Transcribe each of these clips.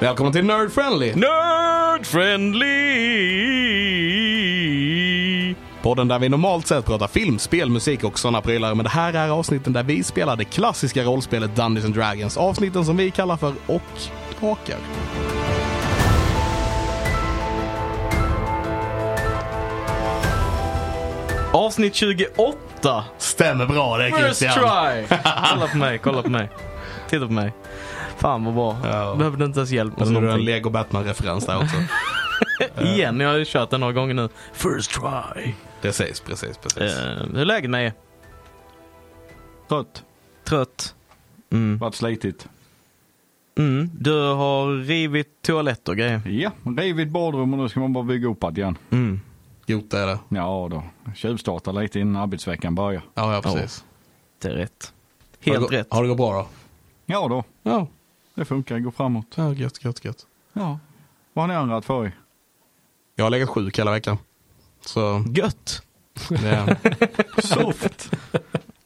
Välkommen till Nerd Friendly! Nerd friendly! Podden där vi normalt sett pratar film, spel, musik och sådana prylar. Men det här är avsnitten där vi spelar det klassiska rollspelet Dungeons and Dragons. Avsnitten som vi kallar för Och Drakar. Avsnitt 28! Stämmer bra det First try! Kolla på mig, kolla på mig. Titta på mig. Fan vad bra. Ja. Behövde inte ens hjälp Och med så gjorde du en någonting. Lego Batman-referens där också. Igen, jag har ju kört den några gånger nu. First try. precis, precis, precis. Eh, hur är läget med er? Trött. Trött? Mm. Varit slitigt. Mm. Du har rivit toalett och grejer. Ja, rivit badrum och nu ska man bara bygga upp allt igen. Mm. Gjort är det. Ja då, tjuvstarta lite innan arbetsveckan börjar. Ja, ja precis. Det är rätt. Har det Helt gå- rätt. Har det gått bra då? Ja då, Ja. det funkar, går framåt. ja, gött, gött, gött. Ja. Vad har ni andra att för i? Jag har legat sjuk hela veckan. Så Gött! det... Soft!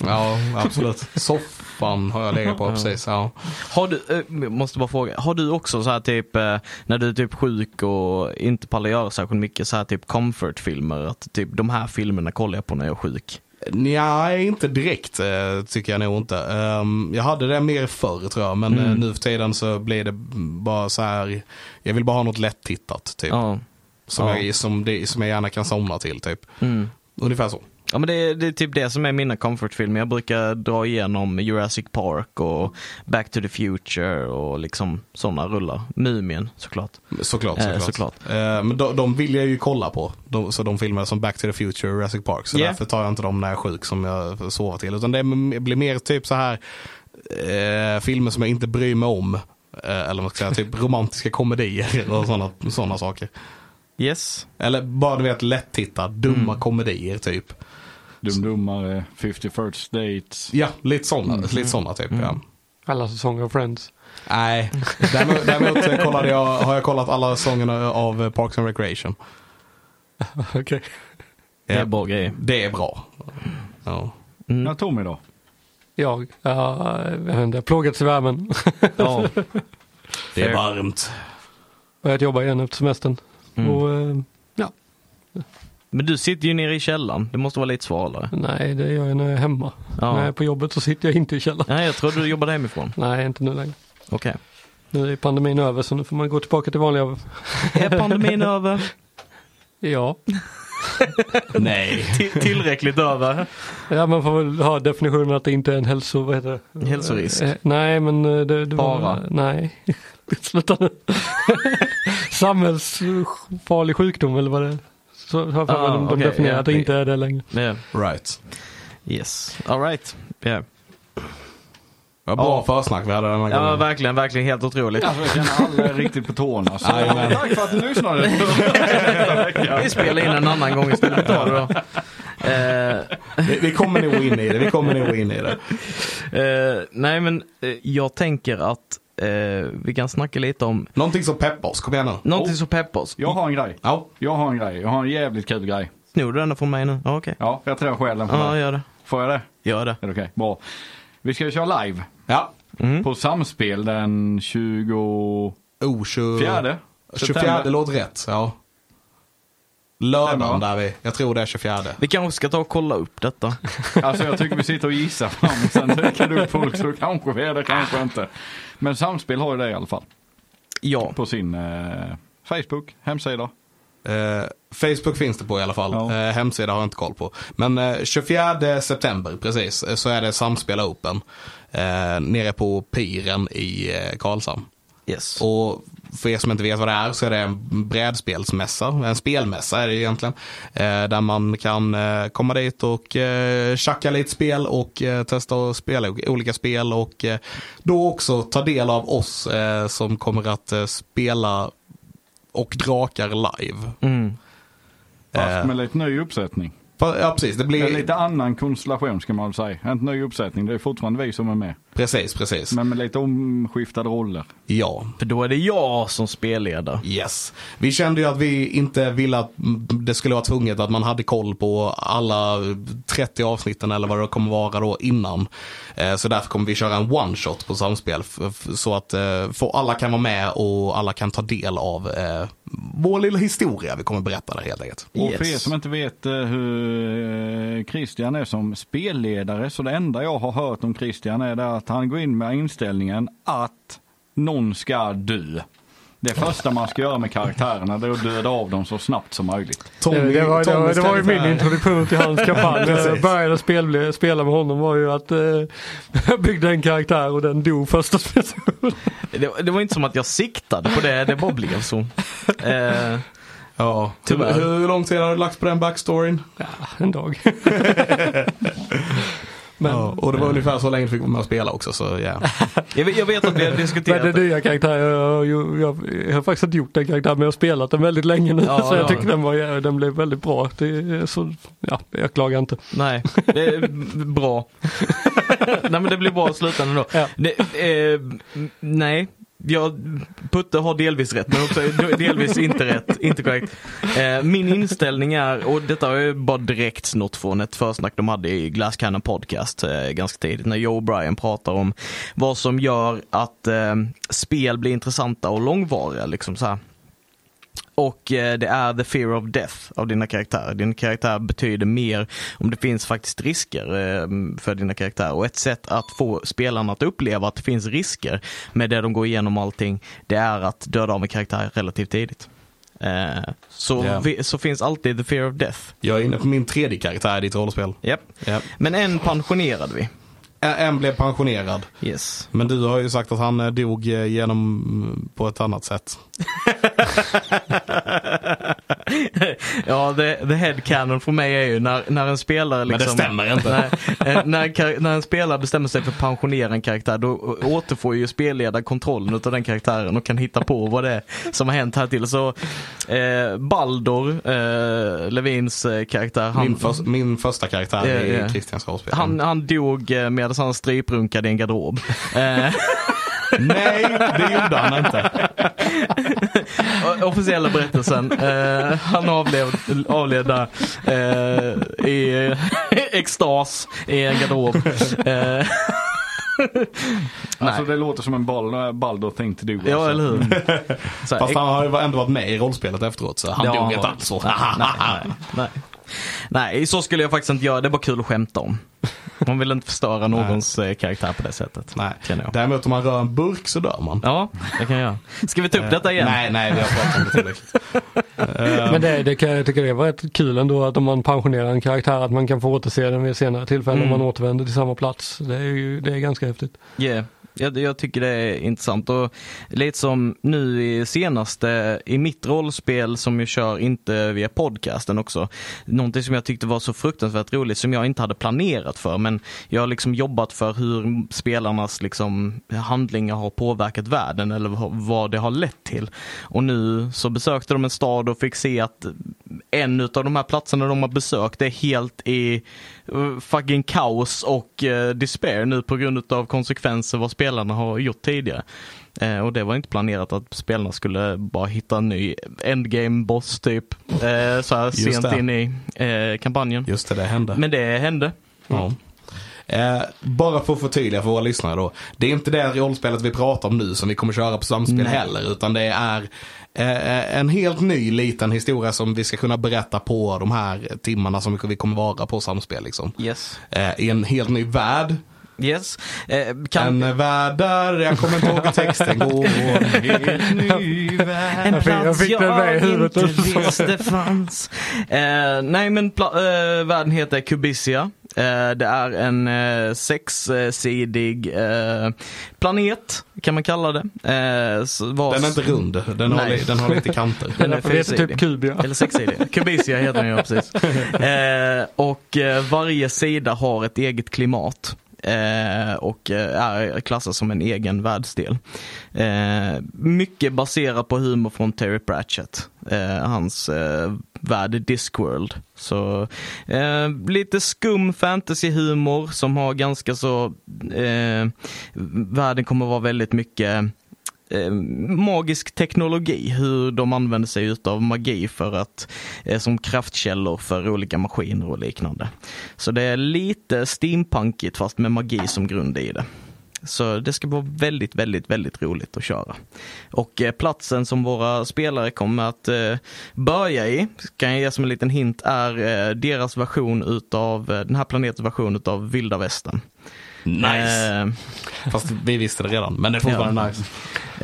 Ja, absolut. Soffan har jag legat på, precis. Ja. Har du, eh, jag måste bara fråga, har du också så här typ eh, när du är typ sjuk och inte pallar göra särskilt mycket så här typ comfortfilmer? Att typ de här filmerna kollar jag på när jag är sjuk. Nej, inte direkt eh, tycker jag nog inte. Ehm, jag hade det mer förr tror jag, men Mm. eh, nu för tiden så blir det bara så här. Jag vill bara ha något lättittat typ. Ja. Som, Ja. jag, som, det, som jag gärna kan somna till typ. Mm. Ungefär så. Ja men det, är- det är typ det som är mina comfortfilmer. Jag brukar dra igenom Jurassic Park och Back to the Future och liksom sådana rullar. Mumien såklart. Såklart, Eh, såklart. såklart. Eh, men de, de vill jag ju kolla på. De, så de filmer som Back to the Future och Jurassic Park. Så Ja. därför tar jag inte dem när jag är sjuk som jag sover till. Utan det m- blir mer typ så här eh, filmer som jag inte bryr mig om. Eh, eller vad man ska säga, typ romantiska komedier och sådana såna saker. Yes. Eller bara du vet lättitta, dumma Mm. komedier typ. Dumdummare, 50 first dates. Ja, lite sådana, Mm. lite såna typ. Ja. Alla säsonger av Friends. Nej, däremot, däremot eh, kollade jag, har jag kollat alla säsongerna av eh, Parks and Recreation. Okej. Det är Ja. bra grejer. Det är bra. Ja. Ja, Tommy då? Jag, ja, jag vet inte, jag har plågats i värmen. Ja. Det är Fair. varmt. Börjat jobba igen efter semestern. Mm. Och, eh, ja. Men du sitter ju nere i källaren. Det måste vara lite svalare. Nej, det gör jag när jag är hemma. Ja. När jag är på jobbet så sitter jag inte i källaren. Nej jag trodde du jobbade hemifrån. Nej, inte nu längre. Okej. Nu är pandemin över så nu får man gå tillbaka till vanliga... Är pandemin över? Ja, Nej. Till- tillräckligt över. ja man får väl ha definitionen att det inte är en hälso... Vad heter det? Hälsorisk. Eh, nej, men eh, det, det Fara. var... Nej. Sluta nu. Samhällsfarlig sjukdom eller vad det är. Så har jag för mig Ah, de, de okej, definierar ja, att det det- inte är det längre. Yeah. Right. Yes. Alright. Yeah. Vad bra Ja. försnack vi hade den här Ja, gången. verkligen, verkligen helt otroligt. Alltså, jag känner alla är riktigt på tårna. Så. Jajamän. Tack för att ni lyssnade! Vi spelar in en annan gång istället. Tar det då. Eh, Vi, vi kommer nog in i det. Vi kommer nog in i det. eh, nej men eh, jag tänker att eh, vi kan snacka lite om Någonting som peppar oss. Kom igen nu. någonting som peppar oss. Jag har en grej. Ja. Jag har en grej. Jag har en jävligt kul grej. Snor du den från mig nu? Ja okej. Ja, jag tror jag stjäl den från Ja dig. gör det. Får jag det? Gör det. Är det okej? Bra. Vi ska ju köra live Ja. Mm. på Samspel den 24. Oh, 24. 24 september. låter rätt. Ja. Lördagen September, där vi. Jag tror det är 24. Vi kanske ska ta och kolla upp detta. Alltså jag tycker vi sitter och gissar fram och sen dyker det upp folk så kanske vi är det, kanske inte. Men Samspel har ju det i alla fall. Ja. På sin eh, Facebook, hemsida. Eh, Facebook finns det på i alla fall. Ja. Eh, hemsida har jag inte koll på. Men eh, 24 september precis eh, så är det Samspela Open. Eh, nere på piren i eh, Karlshamn. Yes. Och för er som inte vet vad det är så är det en brädspelsmässa, en spelmässa är det ju egentligen. Eh, där man kan eh, komma dit och eh, tjacka lite spel och eh, testa att spela o- olika spel och eh, då också ta del av oss eh, som kommer att eh, spela och drakar live. Mm. Fast Eh, med lite ny uppsättning. Ja, precis. Det Det är blir... lite annan konstellation ska man väl säga. Inte ny uppsättning, det är fortfarande vi som är med. Precis, precis. Men med lite omskiftade roller. Ja, För då är det jag som spelledare. Yes. Vi kände ju att vi inte ville att mm, det skulle vara tvunget att man hade koll på alla 30 avsnitten eller vad det kommer vara då innan. Eh, Så därför kommer vi köra en one shot på samspel f- f- så att eh, få- alla kan vara med och alla kan ta del av eh, vår lilla historia vi kommer berätta där helt enkelt. Och för er som inte vet eh, hur eh, Christian är som spelledare så det enda jag har hört om Christian är det att han går in med inställningen att någon ska dö. Det första man ska göra med karaktärerna det är att döda av dem så snabbt som möjligt. Tommy, det, det, var, det, var, Tommys det var ju min karaktär- introduktion till hans kampanj. När jag Precis. började spel, spela med honom var ju att eh, jag byggde en karaktär och den dog första spelet. Det, det var inte som att jag siktade på det, det bara blev så. Eh, Ja, Tyvärr. Hur, hur lång tid har du lagt på den backstoryn? en dag. men, Ja, och det var ungefär så länge du fick vara med och spela också så ja. jag, vet- jag vet att vi har diskuterat men det. den nya karaktären, jag, jag, jag, jag har faktiskt inte gjort den karaktären men jag har spelat den väldigt länge nu. Ja, så jag ja. tycker den, var, jä- den blev väldigt bra. Det, är så, ja, jag klagar inte. Nej, det är bra. nej men det blir bra i slutändan då. Ja. Det, eh, m- nej, jag, Putte har delvis rätt men också delvis inte rätt. Inte korrekt. Eh, min inställning är, och detta har jag bara direkt snott från ett försnack de hade i Glass Cannon Podcast eh, ganska tidigt. När Joe Bryan pratar om vad som gör att eh, spel blir intressanta och långvariga. Liksom så här. Och eh, det är the fear of death av dina karaktärer. Din karaktär betyder mer om det finns faktiskt risker eh, för dina karaktärer. Och ett sätt att få spelarna att uppleva att det finns risker med det de går igenom och allting, det är att döda av en karaktär relativt tidigt. Eh, Så, Ja. vi, så finns alltid the fear of death. Jag är inne på min tredje karaktär i ditt rollspel. Japp. Ja. Men en pensionerade vi. En- En blev pensionerad. Yes. Men du har ju sagt att han eh, dog eh, genom mm, på ett annat sätt. Ja, the, the headcanon för mig är ju när, när en spelare liksom... inte. Nej, eh, när, kar- när en spelare bestämmer sig för att pensionera en karaktär då återfår ju spelledaren kontrollen utav den karaktären och kan hitta på vad det är som har hänt här till. Så eh, Baldur, eh, Levins eh, karaktär, han, Min, förs- min första karaktär Ja, i ja. Christians rollspel. han, han dog eh, medan han stryprunkade i en garderob. Eh, Nej, det gjorde han inte. O- officiella berättelsen. Eh, han avled, avled där eh, i extas i en garderob. Eh, Alltså det låter som en Bal- Baldur thing to do. alltså. ja, eller hur? Så här, Mm. Fast han har ju ändå varit med i rollspelet efteråt så han Ja, dog han inte var- alls. nej, nej. nej, så skulle jag faktiskt inte göra. Det är bara kul att skämta om. Man vill inte förstöra någons eh, karaktär på det sättet. Nej. Känner jag. Däremot om man rör en burk så dör man. Ja, det kan jag göra. Ska vi ta upp detta igen? Eh, Nej, nej, vi har pratat om det tillräckligt. Eh, Men det, det kan, jag tycker det var rätt kul ändå att om man pensionerar en karaktär att man kan få återse den vid ett senare tillfälle om man återvänder till samma plats. Det är ju det är ganska häftigt. Yeah. Jag, jag tycker det är intressant och lite som nu i senaste, i mitt rollspel som jag kör inte via podcasten också. Någonting som jag tyckte var så fruktansvärt roligt som jag inte hade planerat för men jag har liksom jobbat för hur spelarnas liksom, handlingar har påverkat världen eller vad- vad det har lett till. Och nu så besökte de en stad och fick se att en av de här platserna de har besökt är helt i eh, fucking kaos och eh, despair nu på grund av konsekvenser vad spelarna har gjort tidigare. Eh, och det var inte planerat att spelarna skulle bara hitta en ny endgame boss typ. Eh, så här Just sent det. in i eh, kampanjen. Just det, det hände. Men det hände. Ja. Eh, bara för att förtydliga för våra lyssnare då. Det är inte det rollspelet vi pratar om nu som vi kommer köra på samspel heller. Utan det är eh, en helt ny liten historia som vi ska kunna berätta på de här timmarna som vi kommer vara på samspel. Liksom. Yes. Eh, I en helt ny värld. Yes. Eh, kan... En värld där, jag kommer inte ihåg hur texten går. Helt ny värld. Jag fick- jag fick den med i huvudet inte också. visste fanns. Eh, nej men pla- eh, världen heter Kubisia. Eh, det är en eh, sexsidig eh, planet kan man kalla det. Eh, s- vars- Den är inte rund, den har, Nej. li- den har lite kanter. Den är Därför det heter fyrsidig. typ Kubia. Eller sexsidig. Kubisia heter den ju precis. Eh, och eh, varje sida har ett eget klimat. Eh, och eh, är klassas som en egen världsdel. Eh, mycket baserat på humor från Terry Pratchett. Eh, hans eh, värld, Discworld. Så eh, lite skum fantasyhumor som har ganska så, eh, världen kommer vara väldigt mycket eh, magisk teknologi, hur de använder sig utav magi för att, eh, som kraftkällor för olika maskiner och liknande. Så det är lite steampunkigt fast med magi som grund i det. Så det ska vara väldigt, väldigt, väldigt roligt att köra. Och eh, platsen som våra spelare kommer att eh, börja i, kan jag ge som en liten hint, är eh, deras version utav, eh, den här planetens version utav vilda västern. Nice! Eh, Fast vi visste det redan, men det är fortfarande nice.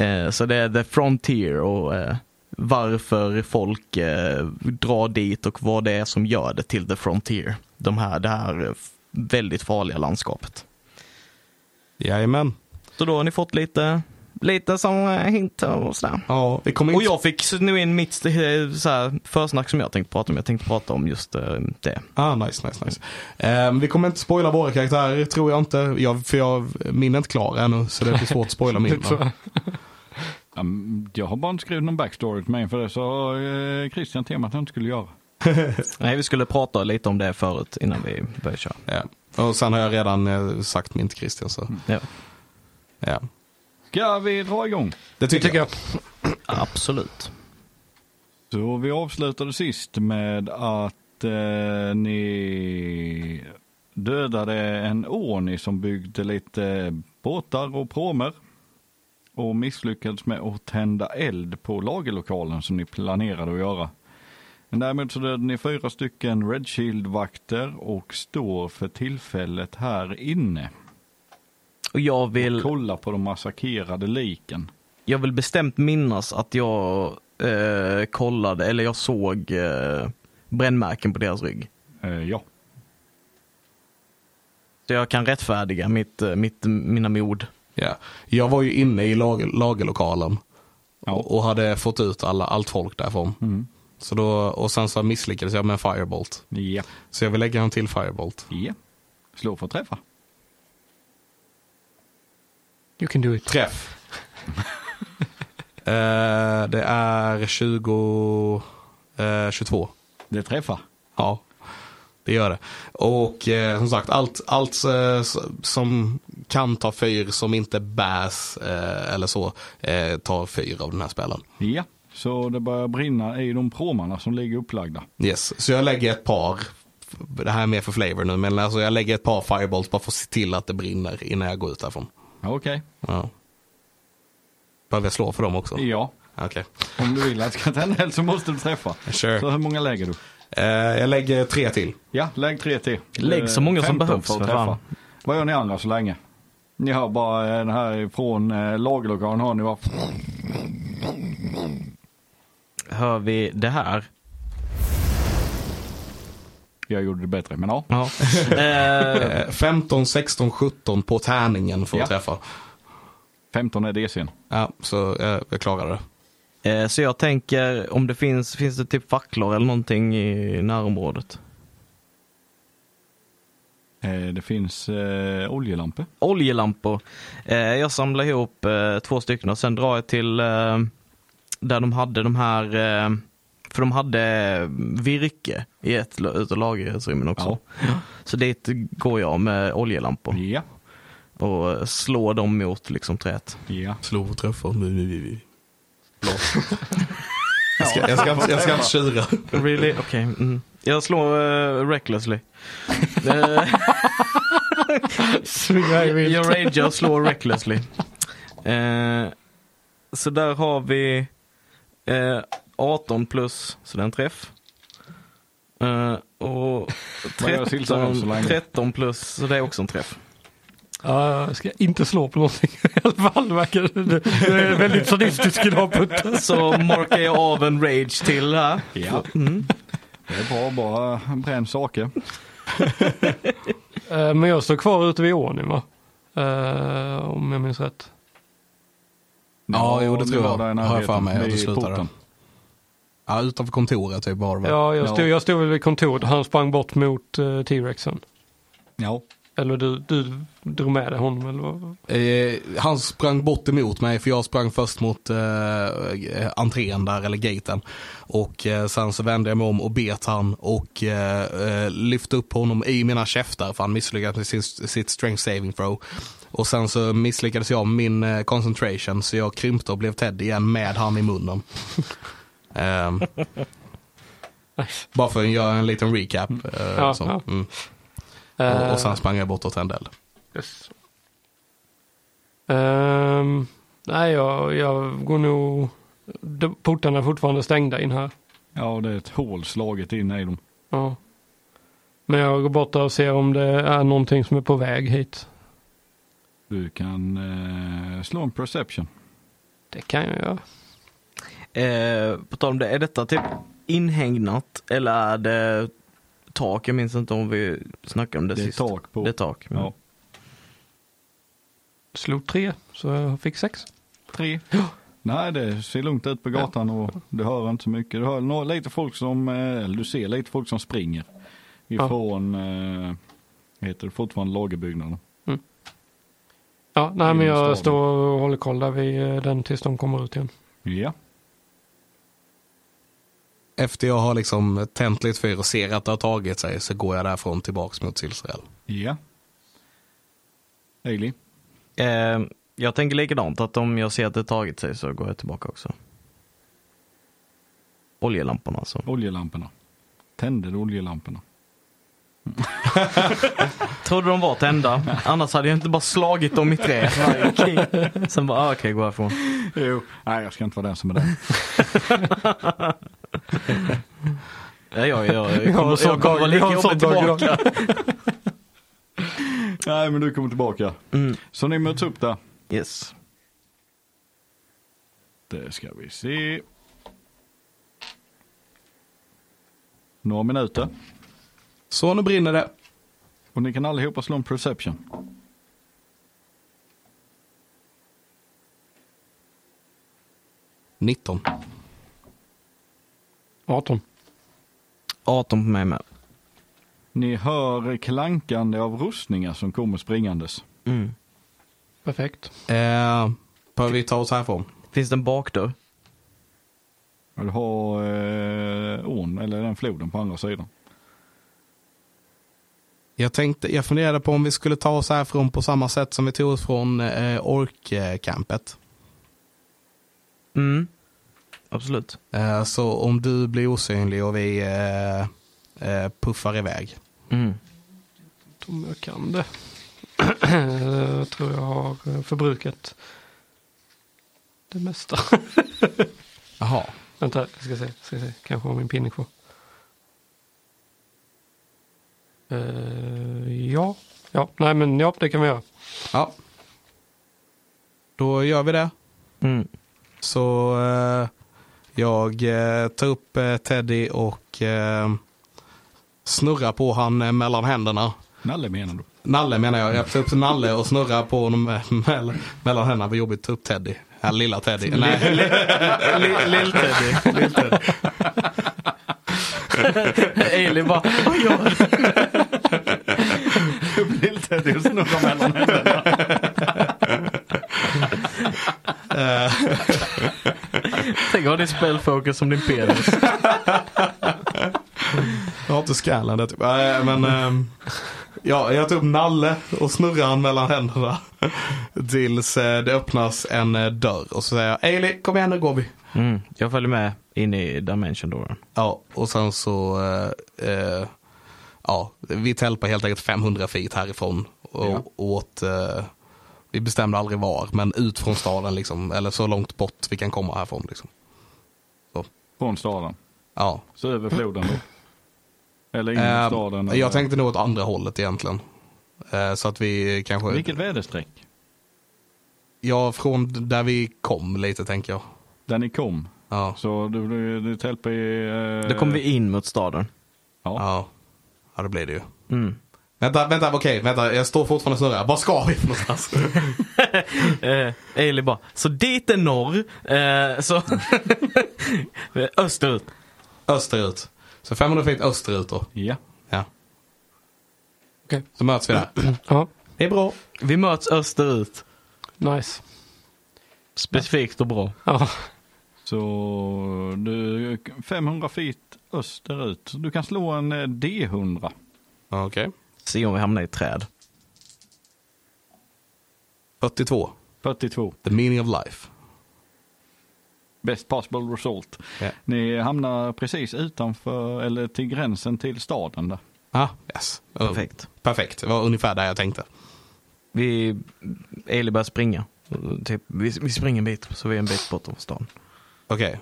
Eh, Så det är The Frontier och eh, varför folk eh, drar dit och vad det är som gör det till The Frontier. De här, det här eh, f- väldigt farliga landskapet. Jajamän. Så då har ni fått lite, lite som eh, hint och sådär. Ja, vi kommer Och inte... jag fick nu in mitt eh, så här, försnack som jag tänkte prata om. Jag tänkte prata om just eh, det. Ah, nice, nice, nice. Ehm, vi kommer inte spoila våra karaktärer, tror jag inte. Jag, för jag, min är inte klar ännu, så det blir svårt att spoila min. Så, Ja, men Ehm, Jag har bara inte skrivit någon backstory till mig för det sa eh, Christian temat att han inte skulle göra. Nej, vi skulle prata lite om det förut innan vi började köra. Ja. Och sen har jag redan eh, sagt min till Christian, så Ja, ja. Ska vi dra igång? Det tycker, tycker jag. jag. absolut. Så vi avslutade sist med att eh, ni dödade en orni som byggde lite båtar och pråmer och misslyckades med att tända eld på lagerlokalen som ni planerade att göra. Men däremot så dödade ni fyra stycken Red Shield-vakter och står för tillfället här inne. Och jag vill... Kolla på de massakrerade liken. Jag vill bestämt minnas att jag eh, kollade, eller jag såg eh, brännmärken på deras rygg. Eh, ja. Så jag kan rättfärdiga mitt, eh, mitt, mina mod. Ja. Jag var ju inne i lager, lagerlokalen Ja. och, och hade fått ut alla, allt folk därifrån. Mm. Så då, och sen så misslyckades jag med en firebolt. Ja. Så jag vill lägga en till firebolt. ja. Slå för att träffa. You can do it. Träff. Eh, det är 20, eh, 22. Det träffar. Ja, det gör det. Och eh, som sagt, allt, allt eh, s- som kan ta fyr som inte bärs eh, eller så eh, tar fyr av den här spelen. Ja, så det börjar brinna i de pråmarna som ligger upplagda. Yes, så jag lägger ett par, det här är mer för flavor nu, men alltså jag lägger ett par fireballs bara för att se till att det brinner innan jag går ut därifrån. Ja, Okej, Ja. Behöver jag slå för dem också? ja. Okej, Om du vill att det ska tända eld så måste du träffa. sure. Så hur många lägger du? Eh, jag lägger tre till. Ja, lägg tre till. Lägg så Eh, många som 15 behövs, för fan. Vad gör ni andra så länge? Ni har bara eh, den här från eh, lagerlokalen har ni bara... Hör vi det här? Jag gjorde det bättre, men ja. Ja. eh, Eh, 15, 16, 17 på tärningen för att Ja. träffa. 15 är DCn. Ja, så eh, jag klarade det. eh, så jag tänker om det finns, finns det typ facklor eller någonting i närområdet? Eh, det finns eh, oljelampor. Oljelampor. Eh, jag samlar ihop eh, två stycken och sen drar jag till eh, där de hade de här, eh, för de hade virke i ett la- utav lagerrummen också. Så dit går jag med oljelampor Ja, och eh, slår dem mot liksom träet. ja. Slå och träffa. Nu, nu, nu, nu. Blås. Jag ska, jag, ska, inte- jag ska inte tjura. Really? Okej. Mm. Jag slår eh, recklessly. Eh, Svinga i vilt. Jag ragear och slår recklessly. Eh, så där har vi eh, 18 plus, så det är en träff. Eh, och Vad gör Siltan 13, så länge? 13 plus, så det är också en träff. Ja, jag ska inte slå på någonting i alla fall. verkar det. Du är väldigt sadistisk idag Putte. Så markar jag av en rage till här. ja. Mm. Det är bra, bara bränn saker. Eh, Men jag står kvar ute vid ån nu va? Eh, Om jag minns rätt. Ja, jo, det ni tror var jag. där Har i jag närheten, för mig att vid det slutade. porten. Ja, utanför kontoret typ bara. va? Ja, jag stod, Ja. jag stod väl vid kontoret och han sprang bort mot eh, T-rexen. Ja, Eller du, du drog med dig honom eller vad? Eh, han sprang bort emot mig för jag sprang först mot eh, entrén där, eller gaten. Och eh, sen så vände jag mig om och bet han och eh, eh, lyfte upp honom i mina käftar för han misslyckades med sin, sitt strength saving throw. Och sen så misslyckades jag med min eh, concentration så jag krympte och blev Ted igen med han i munnen. Ehm, Nice. bara för att göra en liten recap. Eh, Ja, så. ja. Eh. Mm. Och, och sen sprang jag bort åt Endel. Yes. Ehm, nej, jag, jag går nog... de- Portarna är fortfarande stängda in här. Ja, det är ett hål slaget in i dem. Ja. Men jag går bort där och ser om det är någonting som är på väg hit. Du kan eh, slå en perception. Det kan jag göra. Eh, på tal om det, är detta typ inhägnat eller är det tak? Jag minns inte om vi snackade om det, Det är sist. tak Det på. Mm. är tak. Ja. Slog tre, så jag fick sex. Tre. Nej, det ser lugnt ut på gatan och du hör inte så mycket. Du hör några, lite folk som, eh, eller du ser lite folk som springer ifrån, eh, heter det fortfarande lagerbyggnaden. Ja, nej men Genom staden. jag står och håller koll där vid eh, den tills de kommer ut igen. Ja, Efter jag har liksom tänt lite fyr och ser att det har tagit sig så går jag därifrån tillbaks mot Israel. ja. Eili, Eh, jag tänker likadant, att om jag ser att det tagit sig så går jag tillbaka också. Oljelamporna alltså. oljelamporna. Tänder du oljelamporna? Trodde de var tända, annars hade jag inte bara slagit dem i trä. Sen bara, ah, okej, gå härifrån. Jo. Nej, jag ska inte vara den som är den. Ja, ja, ja, Vi jag har en kommer, sån jag kommer vara dag- vi lika har en jobbig sån dag idag. tillbaka. Nej, men du kommer tillbaka. Mm. Så ni möts upp där. Yes. Det ska vi se. Några minuter. Så nu brinner det. Och ni kan allihopa slå en perception. nitton 18. 18 på mig med. Ni hör klankande av rustningar som kommer springandes. Mm. Perfekt. Eh, behöver vi ta oss härifrån? Finns det en bakdörr? Och Du har eh, ån, eller den floden på andra sidan. Jag, tänkte, jag funderade på om vi skulle ta oss härifrån på samma sätt som vi tog oss från eh, orkcampet. Mm. Absolut. Eh, så om du blir osynlig och vi eh, eh, puffar iväg. Mm. Om jag kan det. jag tror jag har eh, förbrukat det mesta. Jaha. Vänta, jag ska se. Ska se. Kanske har min pinne kvar. Eh, ja. ja, nej men ja, det kan vi göra. Ja. Då gör vi det. Mm. Så eh, jag eh, tar upp eh, Teddy och eh, snurrar på han eh, mellan händerna. Nalle menar du? Nalle menar jag. Jag tar upp Nalle och snurrar på honom eh, mell- mellan händerna. Vad jobbigt att ta upp Teddy. Ja, lilla Teddy. Nej, Lill-Teddy. Elin bara, vad gör du? Lill-Teddy och snurrar mellan händerna. Tänk har din spelfokus som din penis. jag har inte skallen där typ. Nej, men eh, ja, jag tar upp Nalle och snurrar han mellan händerna. Tills eh, det öppnas en eh, dörr och så säger jag Eili, kom igen nu går vi. Mm. Jag följer med in i Dimension Door. Ja, och sen så, eh, eh, ja, vi tälpade helt enkelt 500 feet härifrån. Och Ja. åt, eh, vi bestämde aldrig var, men ut från staden liksom, eller så långt bort vi kan komma härifrån liksom. Från staden. Ja. Så över floden då. Eller in i staden. Eh, eller- jag tänkte nog åt andra hållet egentligen. Eh, så att vi kanske, Vilket väderstreck? ja från där vi kom lite tänker jag. Där ni kom. Ja, Så du, du, du tälper i... Eh, Då kommer vi in mot staden. Ja. ja. ja det blir det ju. Mm. Vänta, vänta, okej, vänta, jag står fortfarande och snurrar. Var ska vi för någonstans? Eh, Eli bara, så dit är norr, eh, så österut. österut. Så 500 feet österut då. ja. Ja. Okej. Så möts vi där. Ja, Det är bra. Vi möts österut. nice. Specifikt och bra. Ja, Så du, 500 feet österut. Du kan slå en eh, D100. Okej. Se om vi hamnar i träd. 42. 42. The meaning of life. Best possible result. Ja. Ni hamnar precis utanför, eller till gränsen till staden där. Ah, yes. Oh, Perfekt. Perfekt. Det var ungefär där jag tänkte. Vi, Eli börjar springa. Typ, vi, vi springer en bit, så vi är en bit bort från stan. Okej.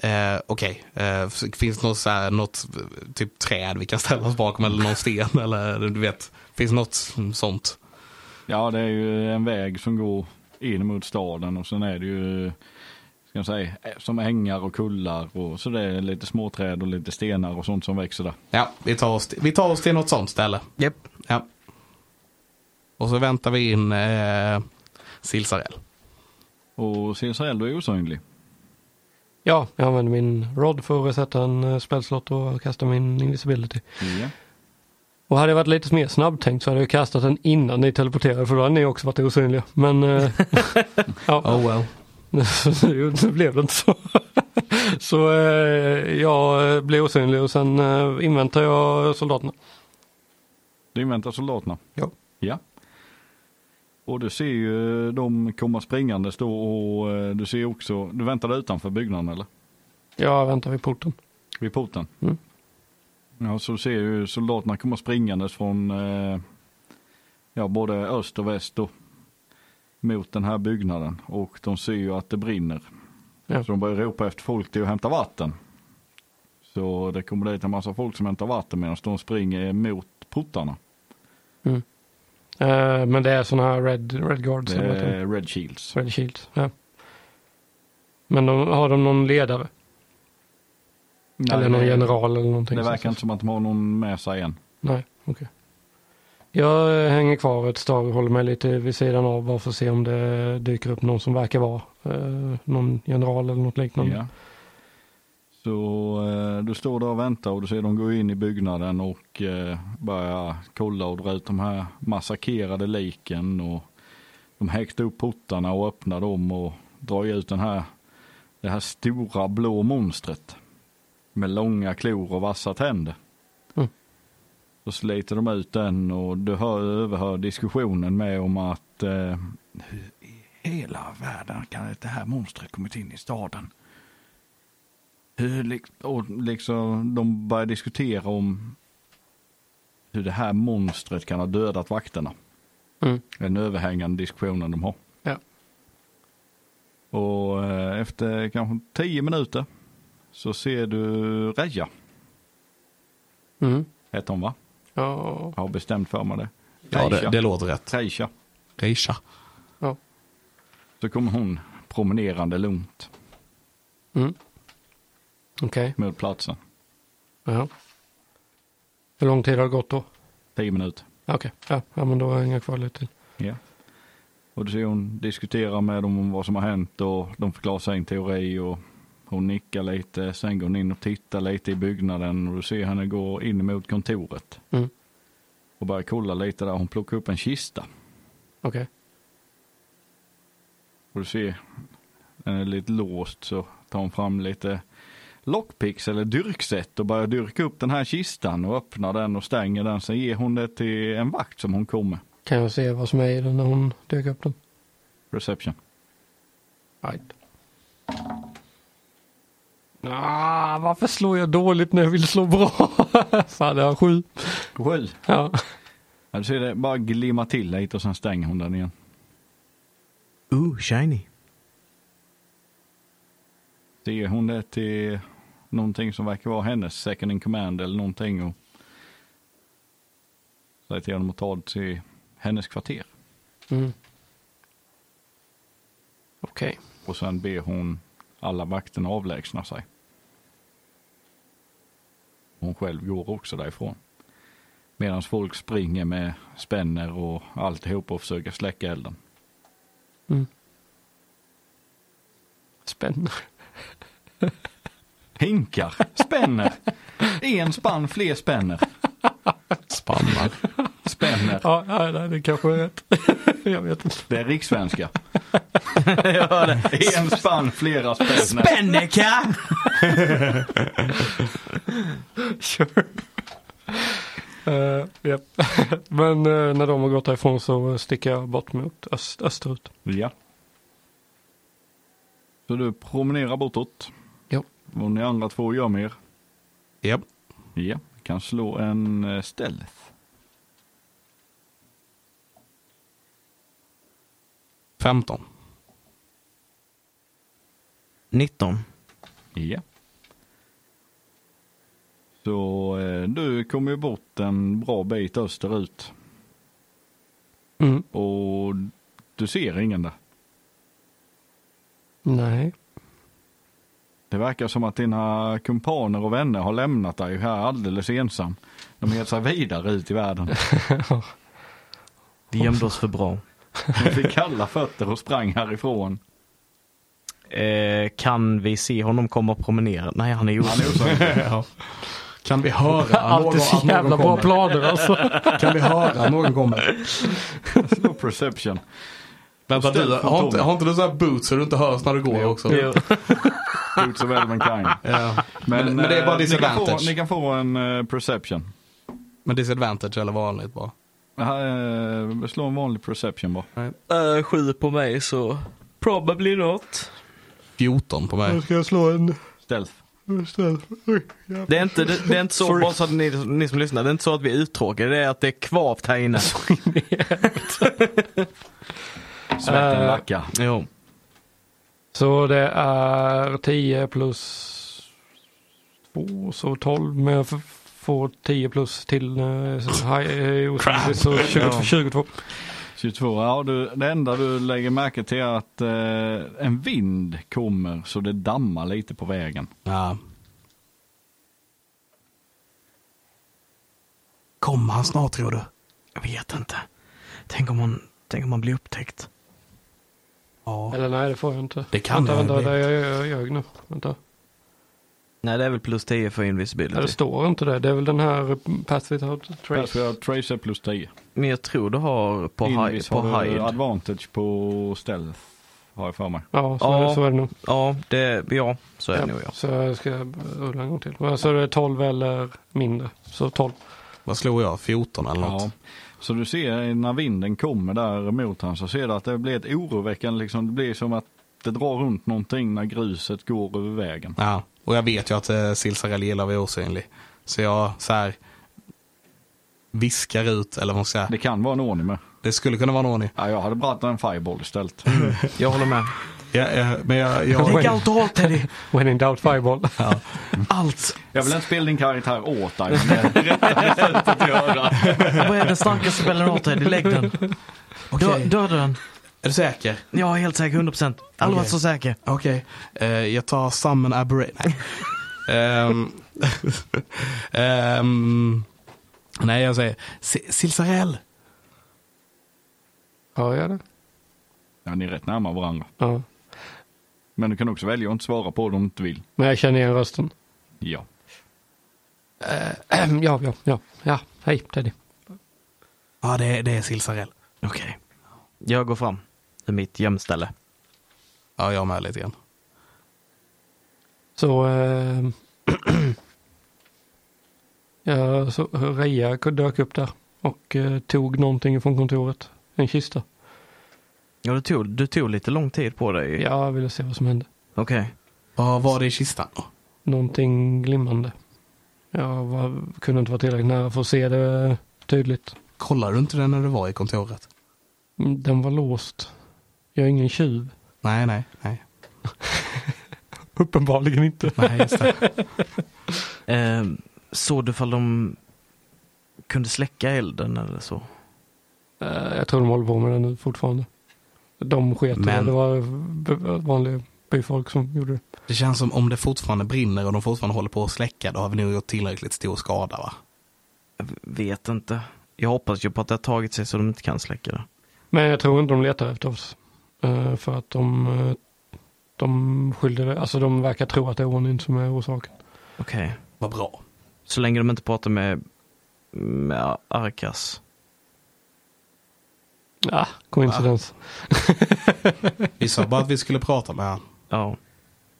Eh, Okej. Eh, f- finns det något, så här, något eh, typ träd vi kan ställa oss bakom eller någon sten eller du vet. Finns något sånt? Ja, det är ju en väg som går in mot staden och sen är det ju ska jag säga, eh, som ängar och kullar och så det är lite småträd och lite stenar och sånt som växer där. Ja, vi tar oss, vi tar oss till något sånt ställe. Japp. Ja. Och så väntar vi in eh, Silsarell. Och CSRL, du är osynlig. ja jag använder min rod för att resetta en eh, spelslott och kasta min invisibility. Ja. Och hade jag varit lite mer snabbtänkt så hade jag kastat den innan ni teleporterade för då hade ni också varit osynliga. Men eh, ja, Oh well. nu nu blev det inte så. så eh, jag eh, blir osynlig och sen eh, inväntar jag soldaterna. Du inväntar soldaterna? Ja. Ja. Och du ser ju de komma springandes då och eh, du ser också, du väntar där utanför byggnaden eller? Jag väntar vid porten. Vid porten? Mm. Ja, så ser ju soldaterna komma springandes från eh, ja, både öst och väst då, mot den här byggnaden och de ser ju att det brinner. Ja. Så de börjar ropa efter folk till att hämta vatten. Så det kommer dit en massa folk som hämtar vatten medan de springer mot portarna. Eh, men det är sådana här red, red guards. Det eller vad heter de? är Red Shields. Red shields. Ja. Men de, har de någon ledare? eller någon det- general eller någonting? Det sånt? verkar inte som att de har någon med sig än. Nej, okej. Jag eh, hänger kvar ett tag och håller mig lite vid sidan av bara för att se om det dyker upp någon som verkar vara eh, någon general eller något liknande. Ja. Så eh, du står där och väntar och du ser dem gå in i byggnaden och eh, börja kolla och dra ut de här massakrerade liken och de häktar upp portarna och öppnar dem och drar ut den här, det här stora blå monstret med långa klor och vassa tänder. Mm. Så sliter de ut den och du hör, överhör diskussionen med om att eh, hur i hela världen kan det här monstret kommit in i staden? hur lik- och liksom, de börjar diskutera om hur det här monstret kan ha dödat vakterna. Mm. Den överhängande diskussionen de har. Ja. Och eh, efter kanske tio minuter så ser du Reja, Mm. heter hon va? Ja. Jag har bestämt för mig det. Ja, det, det låter rätt. Reja. Reisha. ja. Så kommer hon promenerande lugnt Mm. Okej. mot platsen. Ja. Hur lång tid har det gått då? Tio minuter. Okej, ja. ja men då hänger jag kvar lite till. Ja. Och du ser hon diskuterar med dem om vad som har hänt och de förklarar sin teori och hon nickar lite. Sen går hon in och tittar lite i byggnaden och du ser henne gå in mot kontoret Mm. och börjar kolla lite där. Hon plockar upp en kista Okej. och du ser den är lite låst så tar hon fram lite lockpicks eller dyrksätt och börjar dyrka upp den här kistan och öppnar den och stänger den. Sen ger hon det till en vakt som hon kommer. Kan jag se vad som är i den när hon dök upp den? Reception. Right. Ah, varför slår jag dåligt när jag vill slå bra? Fan, det har sju. Sju. Ja. Ja, du ser det bara glimma till lite och sen stänger hon den igen. Ooh, shiny. Det ger hon det till någonting som verkar vara hennes second in command eller någonting och säger till honom att ta det till hennes kvarter. Mm. Okej. Och sen ber hon alla vakterna avlägsna sig. Hon själv går också därifrån. Medan folk springer med spänner och alltihop och försöker släcka elden. Mm. Spännande. Hinkar, spänner, en spann, fler spänner. Spannar. Spänner. vänner. Ja, nej, nej, det kanske är rätt. jag vet inte. Det är rikssvenska. ja, det. En spann, flera spänn. Spenneka! Sure. Eh, japp. Men eh, när de har gått härifrån så sticker jag bort mot öst, österut. Ja. Så du promenerar bortåt. Ja. Och ni andra två gör mer. Japp. Ja. Kan slå en eh, stealth. 15. 19. Ja. Så eh, du kommer ju bort en bra bit österut Mm. och du ser ingen där. Nej. Det verkar som att dina kumpaner och vänner har lämnat dig här alldeles ensam. De ger sig vidare ut i världen. Vi gömde oss för bra. De fick kalla fötter och sprang härifrån. Eh, kan vi se honom komma och promenera? Nej, han är ju Han är osynlig. Ja. Kan vi höra någon, Alltid att så någon jävla bra kommer? planer alltså. Kan vi höra att någon kommer? Slå perception. Vänta, Ställ du, har, fantomen. inte, har inte du sådana här boots så du inte hörs när du går också? Jo. Boots of Elvenkind. Ja. Men, men, det är bara eh, ni kan, få, disadvantage. ni kan få en eh, perception. Men disadvantage eller vanligt bara. Eh, slå en vanlig perception bara. Eh, sju på mig så probably not. 14 på mig. ska jag slå en Stealth. Det är inte, det, det är inte så, bara så att ni, ni som lyssnar, det är inte så att vi är uttråkade. Det är att det är kvavt här inne. Svetten Eh, lackar. Jo. Så det är 10 plus 2, så 12. Men jag f- får 10 plus till eh, så, high, eh, osynligt, så 22. Ja. 22. 22. Ja, du, det enda du lägger märke till är att eh, en vind kommer så det dammar lite på vägen. Ja. Kommer han snart tror du? Jag vet inte. Tänk om man, tänk om man blir upptäckt. Ja. Eller nej, det får jag inte. Det kan vänta, jag vänta, inte. vänta, jag, jag, jag ljög nu. Vänta. Nej, det är väl plus 10 för Nej, det invisibility. står inte det. Det är väl den här Path Without Trace. Trace. Jag tracer plus 10. Men jag tror du har på, hi, Invis på har du hide. advantage på stealth har jag för mig. Ja, så, Ja. så är det nog. Ja, det, ja, så är det nog ja. Så jag ska rulla en gång till. Så det är 12 eller mindre. Så 12. Vad slog jag? 14 eller något? Ja. Så du ser när vinden kommer där mot han så ser du att det blir ett oroväckande liksom. Det blir som att det drar runt någonting när gruset går över vägen. Ja, och jag vet ju att eh, Silsarell gillar att vara osynlig. Så jag så här viskar ut, eller vad man ska säga. Det kan vara en ordning med. Det skulle kunna vara någon i. Ja, jag hade brattat en fireball istället. Mm. Jag håller med. Ja, ja, men jag, jag, allt du har Teddy. When in doubt fireball. Allt. Jag vill inte spela din karaktär åt dig. Men det är rätta sättet att göra. Vad är den starkaste spelaren du har Teddy? Lägg den. Dö, döda den. Är du säker? Jag är helt säker, 100%. Aldrig varit Okej. så säker. Okej. Eh, jag tar summon aberration. Nej. Ehm, ehm, nej, jag säger Si- Silsarell. Hör jag det? Ja, ni är rätt närmare varandra. Ja. Men du kan också välja att inte svara på det om du inte vill. Men jag känner igen rösten. Ja. ja, ja, ja, ja. Hej Teddy. Ja, det, är- det är Silsarell. Okej. Jag går fram till mitt gömställe. Ja, jag med lite grann. Så... Eh, ja, så Reja dök upp där och eh, tog någonting från kontoret. En kista. Ja, du tog, du tog lite lång tid på dig. Ja, jag ville se vad som hände. Okej. Vad var det i kistan? då? Någonting glimmande. Jag var, kunde inte vara tillräckligt nära för att se det eh, tydligt. Kollade du inte det när du var i kontoret? Mm, Den var låst. Jag är ingen tjuv. Nej, nej, nej. Uppenbarligen inte. nej just det. Eh, såg du ifall de kunde släcka elden eller så? Eh, Jag tror de håller på med det nu fortfarande. De sket i det. Men- Det var b- vanliga byfolk som gjorde det. Det känns som om det fortfarande brinner och de fortfarande håller på att släcka, då har vi nog gjort tillräckligt stor skada va? Jag vet inte. Jag hoppas ju på att det har tagit sig så de inte kan släcka det. Men jag tror inte de letar efter oss. Eh, För att de, eh, de skyllde det. Alltså de verkar tro att det är ordning som är orsaken. Okej. Vad bra. Så länge de inte pratar med, med Arkas. Ja, Ah, koincidens. Vi sa bara att vi skulle prata med han. Ja.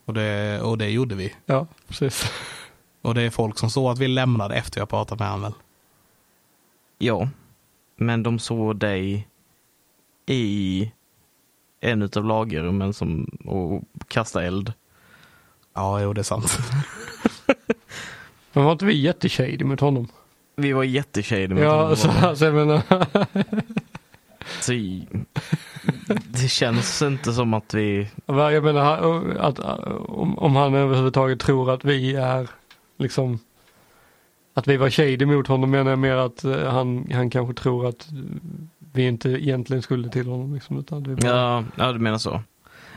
Och det, och det gjorde vi. Ja, precis. Och det är folk som såg att vi lämnade efter jag pratade med han väl. ja. Men de såg dig i en utav lagerrummen som, och kasta eld. Ja, jo det är sant. Men var inte vi jätteshady mot honom? Vi var jätteshady mot Ja, honom. så, alltså jag menar. Så, det känns inte som att vi... Jag menar han- att ah, om, om han överhuvudtaget tror att vi är liksom att vi var shady mot honom menar jag mer att eh, han, han kanske tror att vi inte egentligen skulle till honom. Liksom, utan att vi bara, Ja, ja du menar så.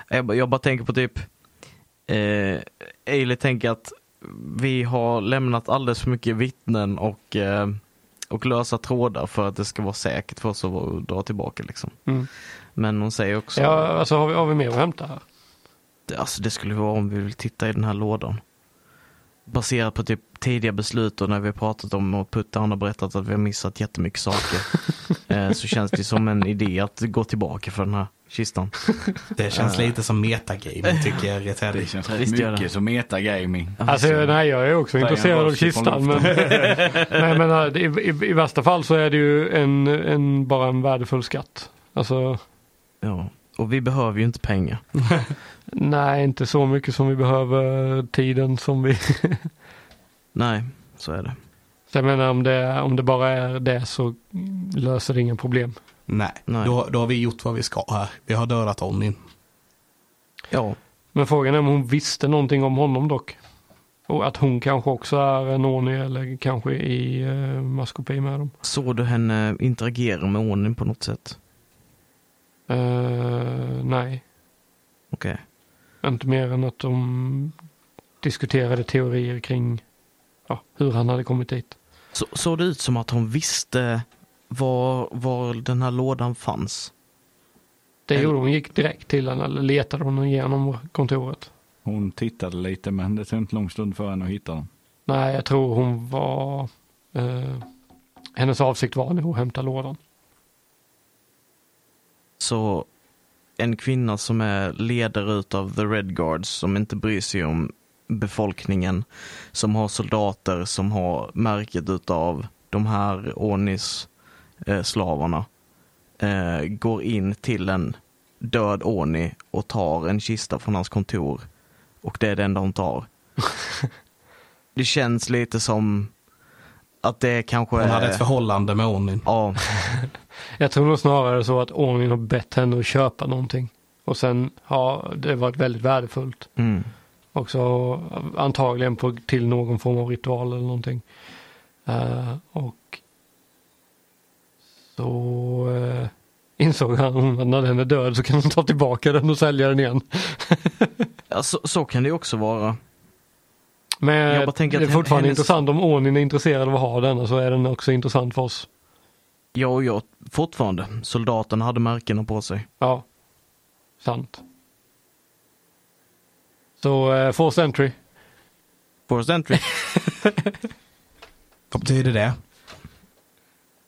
Jag, bara- jag bara tänker på typ... Eh, Ailey tänker att vi har lämnat alldeles för mycket vittnen och, eh, och lösa trådar för att det ska vara säkert för oss att dra tillbaka. Liksom. mm. Men hon säger också... ja alltså har vi, har vi mer att hämta här? Det- Alltså det skulle vara om vi vill titta i den här lådan. Baserat på typ tidiga beslut och när vi har pratat om och Putte han har berättat att vi har missat jättemycket saker. eh, så känns det som en idé att gå tillbaka för den här kistan. Det känns lite som metagaming tycker jag Det Teddy. känns Ja, rätt visst gör det. mycket som metagaming. Alltså nej jag är också Säger intresserad han av rakt ifrån kistan men, nej, men eh, det- i, i, i värsta fall så är det ju en, en, bara en värdefull skatt. Alltså Ja. Och vi behöver ju inte pengar. nej inte så mycket som vi behöver tiden som vi Nej, så är det. Så jag menar om det, om det bara är det så löser det inga problem. Nej, Nej. Då, då har vi gjort vad vi ska här. Vi har dödat Onin. Ja, Men frågan är om hon visste någonting om honom dock. Och att hon kanske också är en ordning eller kanske i eh, maskopi med dem. såg du henne interagera med ordning på något sätt? Eh, nej, Okej. inte mer än att de diskuterade teorier kring ja, hur han hade kommit dit. Så, såg det ut som att hon visste var, var den här lådan fanns? Det Eller- gjorde hon, gick direkt till honom eller letade hon igenom kontoret. Hon tittade lite men det tog inte lång stund för henne att hitta dem. Nej, jag tror hon var... Eh, hennes avsikt var nog att hämta lådan. Så en kvinna som är ledare utav the Red Guards som inte bryr sig om befolkningen, som har soldater som har märket utav de här Onis eh, slavarna eh, går in till en död Oni och tar en kista från hans kontor och det är det enda hon tar. det känns lite som att det kanske Hon är... hade ett förhållande med Onin. Ja, Jag tror nog snarare så att ordningen har bett henne att köpa någonting. Och sen har det varit väldigt värdefullt. mm, Också antagligen på, till någon form av ritual eller någonting. Eh, och så eh, insåg han att när den är död så kan hon ta tillbaka den och sälja den igen. ja så, så kan det ju också vara. Men Jag bara tänker att det är fortfarande hennes- intressant om ordningen är intresserad av att ha denna så är den också intressant för oss. Ja, och jag fortfarande. Soldaterna hade märkena på sig. Ja, sant. Så eh, forced entry. Forced entry. Vad betyder det?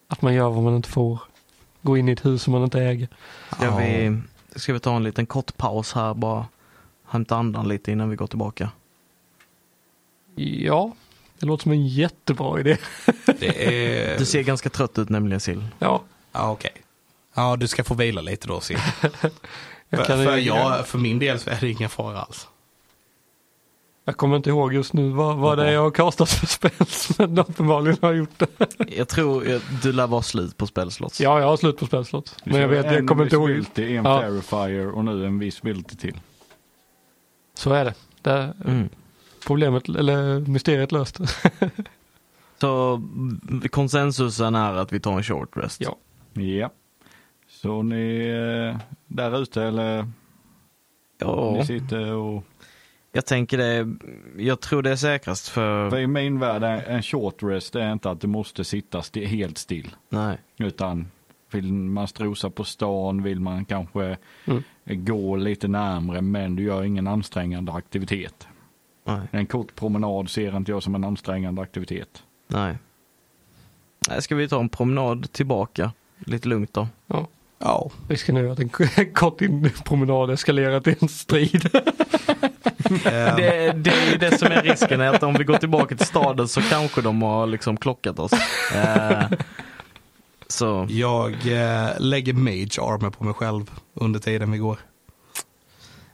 Att man gör vad man inte får. Gå in i ett hus som man inte äger. Ska, Ja. vi, ska vi ta en liten kort paus här bara? Hämta andan lite innan vi går tillbaka. Ja, det låter som en jättebra idé. Det är... Du ser ganska trött ut nämligen Sill. Ja, Ja, okej. Ja, du ska få vila lite då, Sim. för, jag, kan, för, jag, för min del så är det ingen fara alls. jag kommer inte ihåg just nu vad, vad det är jag har kastat för spel. Men uppenbarligen har jag gjort det. Jag tror eh, du lär vara slut på spelslott. Ja, jag har slut på spelslott. Vi Men jag kör vet, jag en kommer inte ihåg. visibility, En Ja. verifier och nu en visibility till. Så är det. det är Mm. problemet, eller mysteriet löst. Så mm, konsensusen är att vi tar en short rest. Ja. Ja. Så ni eh, där ute eller ja. ni sitter och... Jag tänker det. Jag tror det är säkrast För för... i min värld är en short rest är inte att du måste sitta sti- helt still. Nej. Utan vill man strosa på stan, vill man kanske Mm. gå lite närmre men du gör ingen ansträngande aktivitet. Nej. En kort promenad ser inte jag som en ansträngande aktivitet. Nej. Nej. Ska vi ta en promenad tillbaka? Lite lugnt då. Ja. Ja. Risken är att en kort in promenad eskalerar till en strid. Eh, Det, det är ju det som är risken, är att om vi går tillbaka till staden så kanske de har liksom klockat oss. Eh, så, Jag eh, lägger mage armor på mig själv under tiden vi går.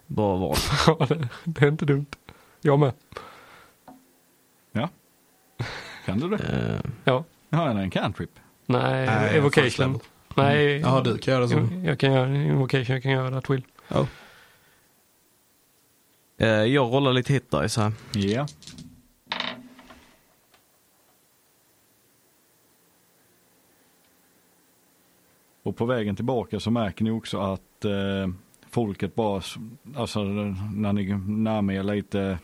bra val. Ja, det, det är inte dumt. Jag med. Ja. Kan du det? Eh, Ja. Ja, det är en cantrip. Nej, Nej, first evocation. level. Mm. Nej, Jaha, du kan göra så. jag, jag kan göra evocation, jag kan göra det att will. Ja. eh, jag rollar lite hit dice här. Ja. Och på vägen tillbaka så märker ni också att eh, folket bara, s- alltså när ni närmar er lite,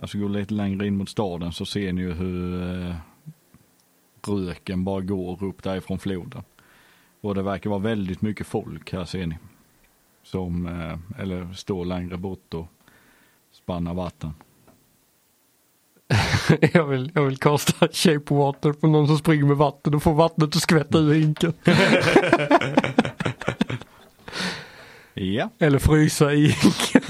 alltså går lite längre in mot staden så ser ni ju hur eh, röken bara går upp därifrån floden. Och det verkar vara väldigt mycket folk här ser ni. Som, eh, eller står längre bort och spannar vatten. Jag vill, jag vill kasta shape water på någon som springer med vatten och får vattnet att skvätta ur hinken. Ja, Eller frysa i hinken.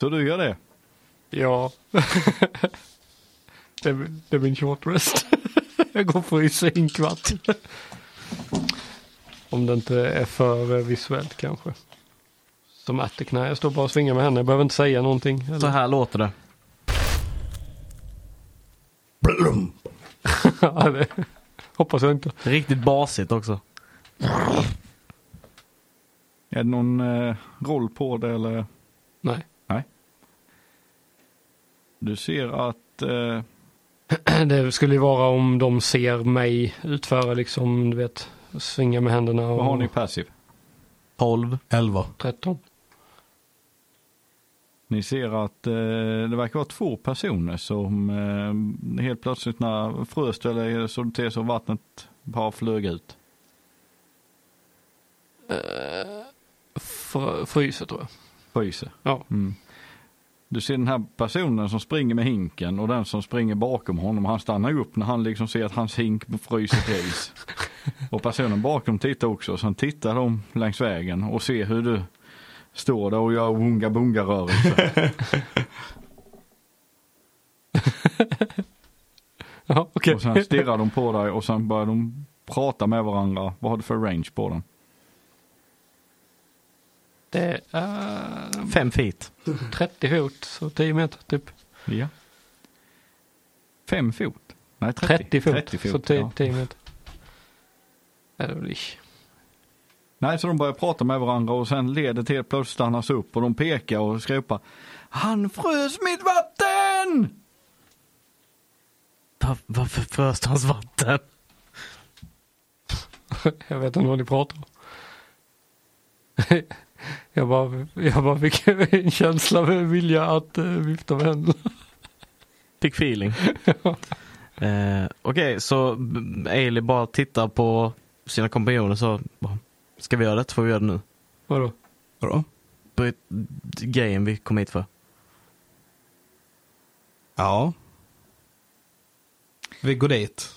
så du gör det. Ja. det, är, min- det är min short rest. jag går och fryser i en kvart. Om det inte är för eh, visuellt kanske. Som Attikna, jag står bara och svingar med henne. Jag behöver inte säga någonting. Så Eller? här låter det. Blum. Ja, det, hoppas jag inte. Riktigt basigt också. Är det någon eh, roll på det eller? Nej. Du ser att eh, Det skulle ju vara om de ser mig utföra liksom, du vet, svinga med händerna. Och Vad har ni passiv? 12. 11. 13. Ni ser att eh, det verkar vara två personer som eh, helt plötsligt när frös eller så det ter sig vattnet bara flög ut. Fr- fryser tror jag. Fryser. Ja. Mm. Du ser den här personen som springer med hinken och den som springer bakom honom. Han stannar upp när han liksom ser att hans hink fryser till is. och personen bakom tittar också. Sen tittar de längs vägen och ser hur du står där och gör wunga bunga rörelser. Ja, okej. och sen stirrar de på dig och sen börjar de prata med varandra. Vad har du för range på den? Det är 5 feet. 30 fot, så 10 meter typ. Ja. Fem fot? Nej, 30, 30 fot, 30 fot så typ 10, ja. 10 meter. Är det väl ish. Nej, så de börjar prata med varandra och sen ledet helt plötsligt stannas upp och de pekar och skrepar. Han frös mitt vatten! Va- Varför frös hans vatten? Jag vet inte vad ni pratar om. Jag bara, jag bara fick en känsla av vilja att eh, vifta med händerna. Fick feeling. eh, Okej, så Ailey bara tittar på sina kompanjoner så bara, ska vi göra det? Får vi göra det nu? Vadå? Vadå? Bryt grejen vi kom hit för. Ja. Vi går dit.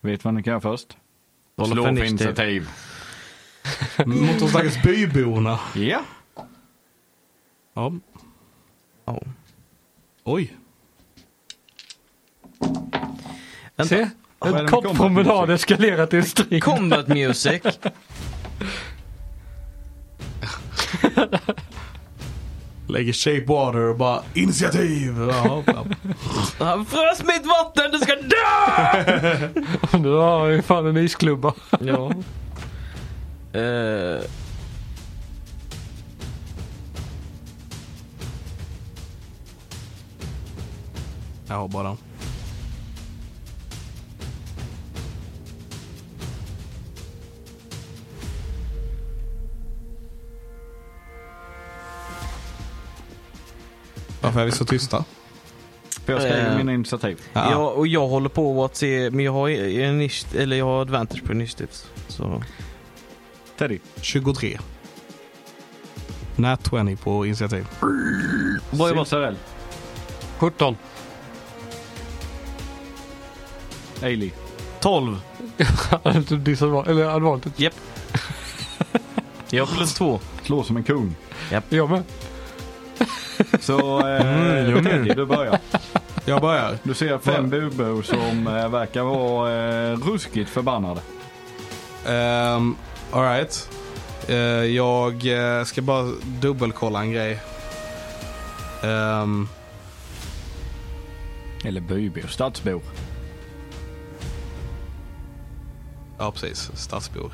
Vet vad ni kan göra först? Roll Slå för för initiativ. initiativ. Mot de stackars byborna. Ja. Ja. Ja. Oj. Vänta. Se! Vad är det En med kort combat promenad music? eskalerar till en strid. Combat music. Lägger shape water och bara initiativ. Ja, ja. Han frös mitt vatten, du ska dö! Nu har jag ju fan en isklubba. ja. Eh. Jag har bara. Varför är vi så tysta? För jag skriver Eh. mina initiativ. Ja. Ja, och jag håller på att se, men jag har, init- eller jag har advantage på initiatives. Så. Teddy. 23. Nat 20 på initiativ. Vad är Sarell? 17. Ailey. 12. Disadvan- eller advantage. Japp. Jag har plus 2. Slå som en kung. Jag med. Så eh, Teddy, du börjar. Jag börjar. Du ser fem bubor som eh, verkar vara eh, ruskigt förbannade. Um, Alright. jag eh, ska bara dubbelkolla en grej. Ehm, Eller bybor, stadsbor. ja, precis. Stadsbor.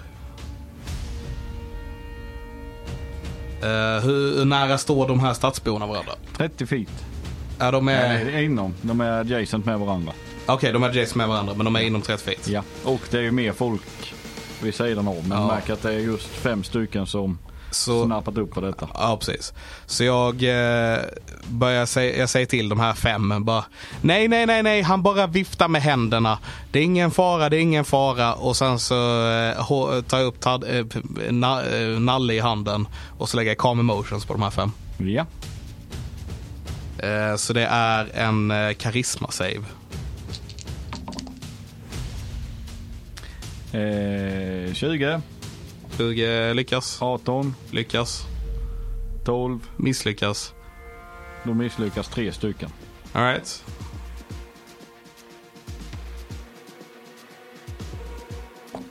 Eh, hur, hur nära står de här stadsborna varandra? 30 feet. Ja, de är... Nej, inom. De är adjacent med varandra. Okej, de är adjacent med varandra, men de är inom 30 feet. Ja. Och det är ju mer folk vid sidan om. Men Ja. märker att det är just fem stycken som Så, snappat upp på detta. Ja, precis. Så jag eh, börjar säga, jag säger till de här fem bara. Nej, nej, nej, nej, han bara viftar med händerna. Det är ingen fara, det är ingen fara. Och sen så eh, hå- tar jag upp tad, eh, p- na, eh, Nalle i handen och så lägger jag calm emotions på de här fem. Ja. Eh, så det är en eh, karisma save. Eh, 20, 20 eh, lyckas, 18, lyckas, 12. misslyckas. Då misslyckas tre stycken. All right.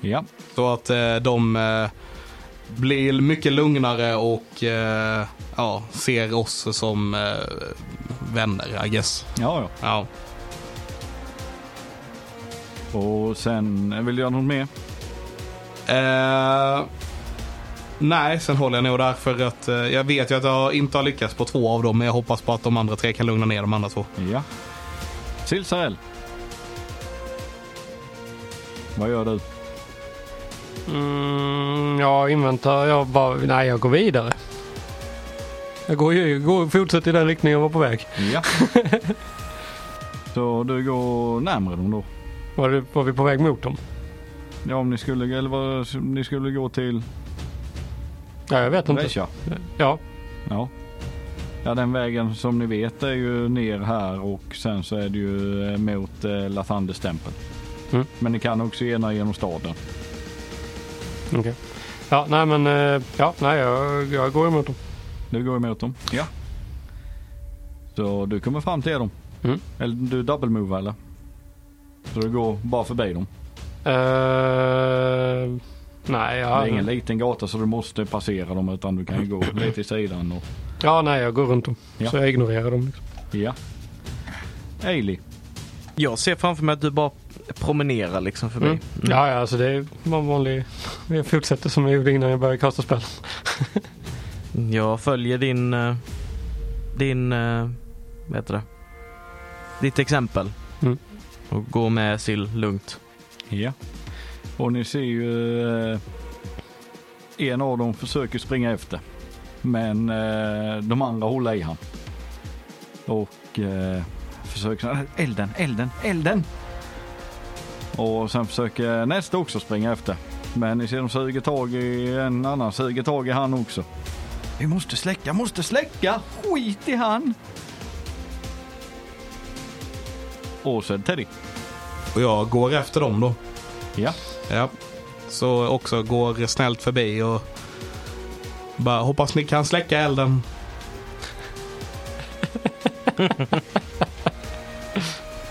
Ja. Så att eh, de eh, blir mycket lugnare och eh, ja, ser oss som eh, vänner, I guess. Ja, ja. Ja. Och sen, vill du göra något mer? Eh, nej, sen håller jag nog där för att eh, jag vet ju att jag inte har lyckats på två av dem, men jag hoppas på att de andra tre kan lugna ner de andra två. Ja. Silsarell. Vad gör du? Mm, jag inväntar, jag bara, nej jag går vidare. Jag går, ju- går, fortsätter i den riktning jag var på väg. Ja. Så du går närmare dem då? Var, det, var vi på väg mot dem? Ja, om ni skulle, eller vad, ni skulle gå till Ja, jag vet inte. Brescia? Ja, Ja. Ja, den vägen som ni vet är ju ner här och sen så är det ju eh, mot eh, Lathandes tempel. Mm. Men ni kan också gena genom staden. okej. Ja, nej men, eh, ja, nej jag, jag går emot dem. Du går emot dem? Ja. Så du kommer fram till dem? Mm. Eller du double move eller? Så du går bara förbi dem? Eh, nej, Det jag, är ingen liten gata så du måste passera dem utan du kan ju gå lite i sidan och... ja, nej jag går runt dem. Ja. Så jag ignorerar dem. Liksom. Ja. Ailey. Jag ser framför mig att du bara promenerar liksom förbi. Mm. Ja, ja, alltså det är bara en vanlig, jag fortsätter som jag gjorde innan jag började kasta spel. Jag följer din... eh, Din... eh, Vad heter det? Ditt exempel. Mm. Och går med Sill lugnt. Ja. Och ni ser ju eh, en av dem försöker springa efter. Men eh, de andra håller i han. Och eh, försöker så här, elden, elden, elden. Och sen försöker nästa också springa efter. Men ni ser de suger tag i en annan, suger tag i han också. Vi måste släcka, måste släcka! Skit i han! Och så är det Teddy. Och jag går efter dem då. Ja. Ja. Så också går snällt förbi och bara hoppas ni kan släcka elden.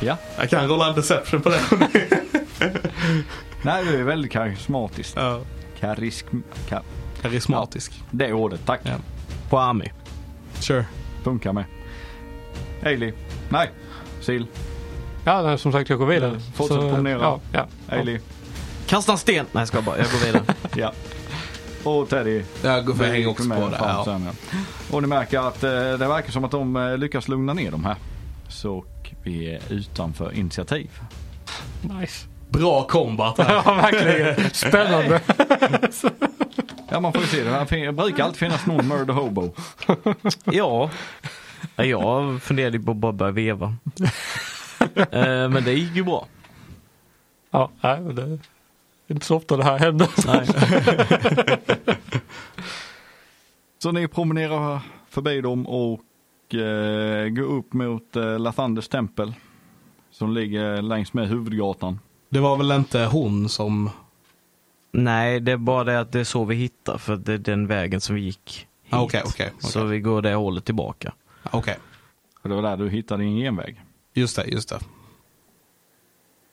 Ja. Jag kan rulla en deception på den. Nej, du är väldigt karismatisk. ja. Karisk... Ka, Karismatisk. det är ordet, tack. Ja. På Ami. Sure. Funkar med. Ailey. Nej. Sil. Ja, nej, som sagt jag går vidare. Mm, fortsätt Så, promenera. Ja, ja. Ailey. Kasta en sten! Nej jag ska bara, jag går vidare. Ja. Och Teddy. Jag går för jag hänger också Med på det. fram Ja. sen, ja. Och ni märker att eh, det verkar som att de eh, lyckas lugna ner de här. Så och vi är utanför initiativ. Nice. Bra combat här. Ja, verkligen. Spännande. Ja, man får ju se. Det här fin- brukar alltid finnas någon murder hobo. ja. Nej, Jag funderade på att bara börja veva. Eh, Men det gick ju bra. Ja, nej, men det är inte så ofta det här händer. Nej. Så ni promenerar förbi dem och eh, går upp mot eh, Lathandes tempel. Som ligger längs med huvudgatan. Det var väl inte hon som... Nej, det är bara det att det är så vi hittar för det är den vägen som vi gick hit. Ah, Okej, okej. Så okej. vi går det hållet tillbaka. Okej. För det var där du hittade din genväg. Just det, just det.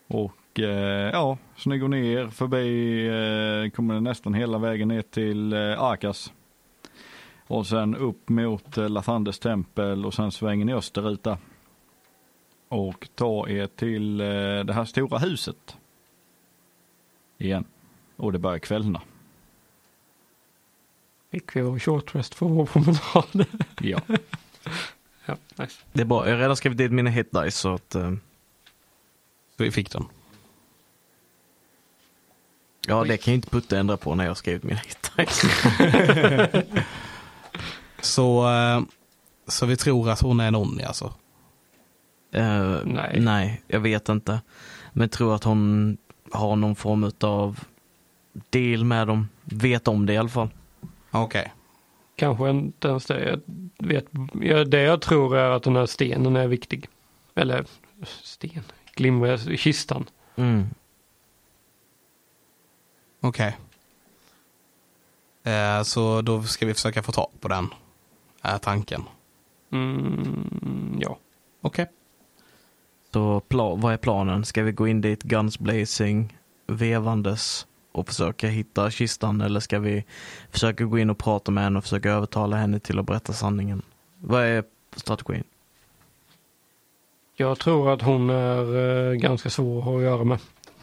Och eh, ja, så ni går ner förbi, eh, kommer nästan hela vägen ner till eh, Arkas. Och sen upp mot eh, Lathanders tempel och sen svänger ni österut där. Och tar er till eh, det här stora huset. Igen. Och det börjar kvällna. Fick vi vår short rest för vår promenad? Ja. ja, nice. Det är bra, jag har redan skrivit dit mina hit dice så att eh, Så vi fick den. ja, det kan ju inte Putte ändra på när jag har skrivit mina hit dice. Så, eh, så vi tror att hon är en Onni alltså. Eh, Nej. nej, jag vet inte. Men tror att hon har någon form av deal med dem. Vet om det i alla fall. Okej. Kanske inte ens det. Jag vet, ja, det jag tror är att den här stenen är viktig. Eller sten, glimra i kistan. Mm. Okej. Eh, så då ska vi försöka få tag på den. Är tanken. Mm, ja. Okej. Så pla- vad är planen? Ska vi gå in dit guns blazing, vevandes och försöka hitta kistan eller ska vi försöka gå in och prata med henne och försöka övertala henne till att berätta sanningen? Vad är strategin? Jag tror att hon är eh, ganska svår att ha att göra med.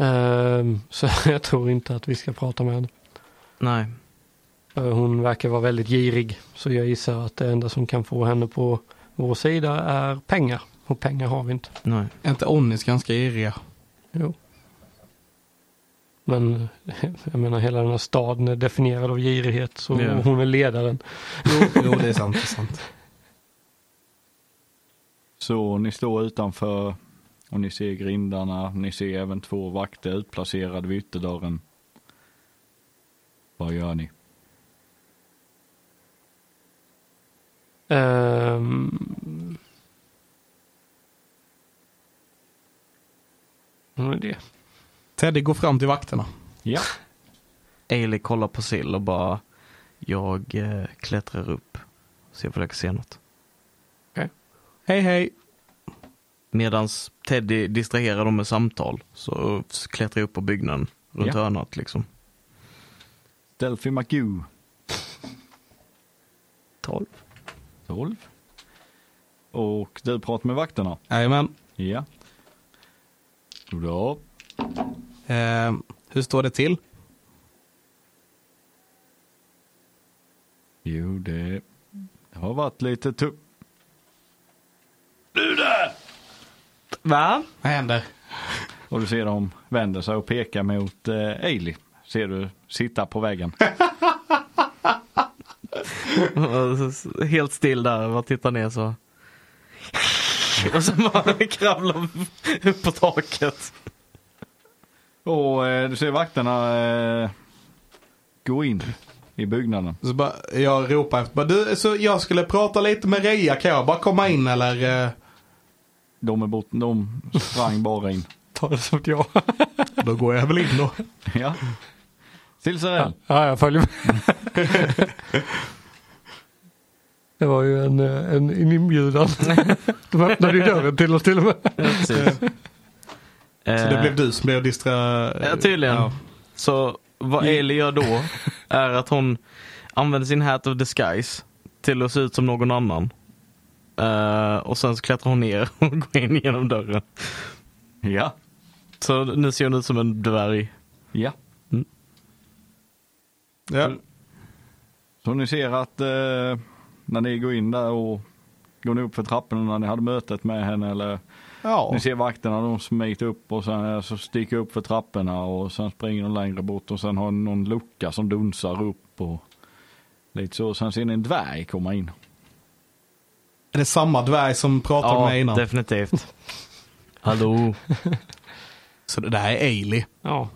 Ehm, så jag tror inte att vi ska prata med henne. Nej, Eh, Hon verkar vara väldigt girig. Så jag gissar att det enda som kan få henne på vår sida är pengar. Och pengar har vi inte. nej. Är inte Onnis ganska iriga? Jo. Men eh, jag menar hela den här staden är definierad av girighet. Så Ja. hon är ledaren. Jo, jo det är sant. Det är sant. Så ni står utanför och ni ser grindarna. Ni ser även två vakter utplacerade vid ytterdörren. Vad gör ni? Ehm. Hon är det. Teddy går fram till vakterna. Ja. Ailey kollar på Sill och bara jag eh, klättrar upp så jag försöker se något. Hej hej. Medans Teddy distraherar dem med samtal så klättrar jag upp på byggnaden runt Ja. hörnet liksom. Delphi McGoo. 12. 12. Och du pratar med vakterna? Jajamän. Ja. Bra. Eh, hur står det till? Jo, det det har varit lite tufft. Va? Vad händer? Och du ser dem vänder sig och pekar mot eh, Ailey. Ser du sitta på väggen. Helt still där, bara tittar ner så. Och sen bara kravlar upp på taket. Och eh, du ser vakterna eh, gå in i byggnaden. Så bara, jag ropar efter. Bara, du, så jag skulle prata lite med Ria. Kan jag bara komma in eller? Eh, De, är bort, de sprang bara in. Ta det som jag. då går jag väl in då. Ja. Silsarell. Ja, jag följer med. Det var ju en, eh, en, en inbjudan. De öppnade ju dörren till oss till och med. Så det blev du som blev distra... Eh, Ja, tydligen. Ja. Mm. Så vad Ailey gör då är att hon använder sin hat of disguise till att se ut som någon annan. Eh, och sen så klättrar hon ner och går in genom dörren. Ja. Så nu ser hon ut som en dvärg. Ja. Ja. Så ni ser att eh, när ni går in där och går ni upp för trapporna när ni hade mötet med henne eller ja. Ni ser vakterna, de smiter upp och sen eh, så sticker upp för trapporna och sen springer de längre bort och sen har ni någon lucka som dunsar upp och lite så. Sen ser ni en dvärg komma in. Är det samma dvärg som pratade med mig innan? definitivt. Hallå. Så det där är Ailey. Ja,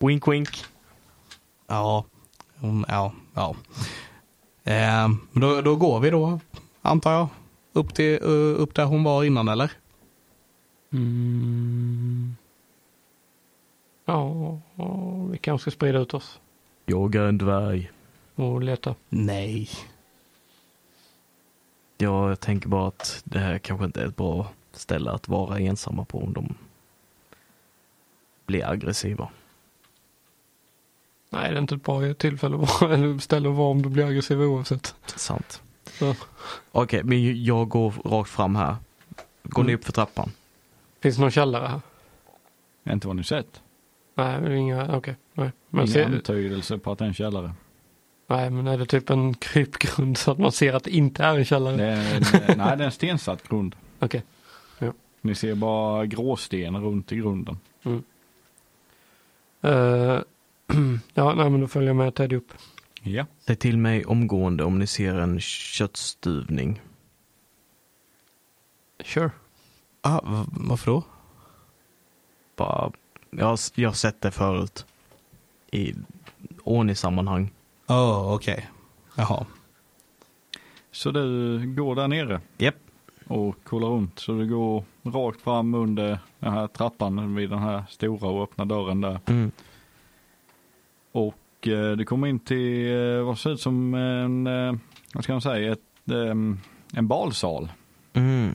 Wink wink. Ja. Eh, Hon- Ja. ja. Ehm, men då, då går vi då, antar jag. upp, till, eh, upp där hon var innan eller? Mm. Ja, vi kanske ska sprida ut oss Jag är en dvärg. och leta. Nej. Ja, jag tänker bara att det här kanske inte är ett bra ställe att vara ensamma på om de blir aggressiva. Nej, det är inte ett bra tillfälle att vara, eller ställe att vara om du blir aggressiv oavsett. Sant. Så, Okej, men jag går rakt fram här. Går ni upp för trappan? finns det någon källare här? Inte vad ni sett. Nej, men inga, okej. nej. Men Ingen se, antydelse på att det är en källare. nej, men är det typ en krypgrund så att man ser att det inte är en källare? Det är, en- eh, nej, det är en stensatt grund. Okej. Ni ser bara gråsten runt i grunden. Eh, ja, nej, men då följer jag med Teddy upp. Ja. Säg till mig omgående om ni ser en köttstuvning. Sure. Ah, v- varför då? Bara, jag, har- jag har sett det förut. I ordningssammanhang. Ja, oh, okej. Jaha. Så du går där nere Japp. och kollar runt. Så du går rakt fram under den här trappan vid den här stora och öppna dörren där. Mm. Och eh, du kommer in till eh, vad ser ut som en, eh, vad ska man säga, ett, ehm, en balsal. Mm.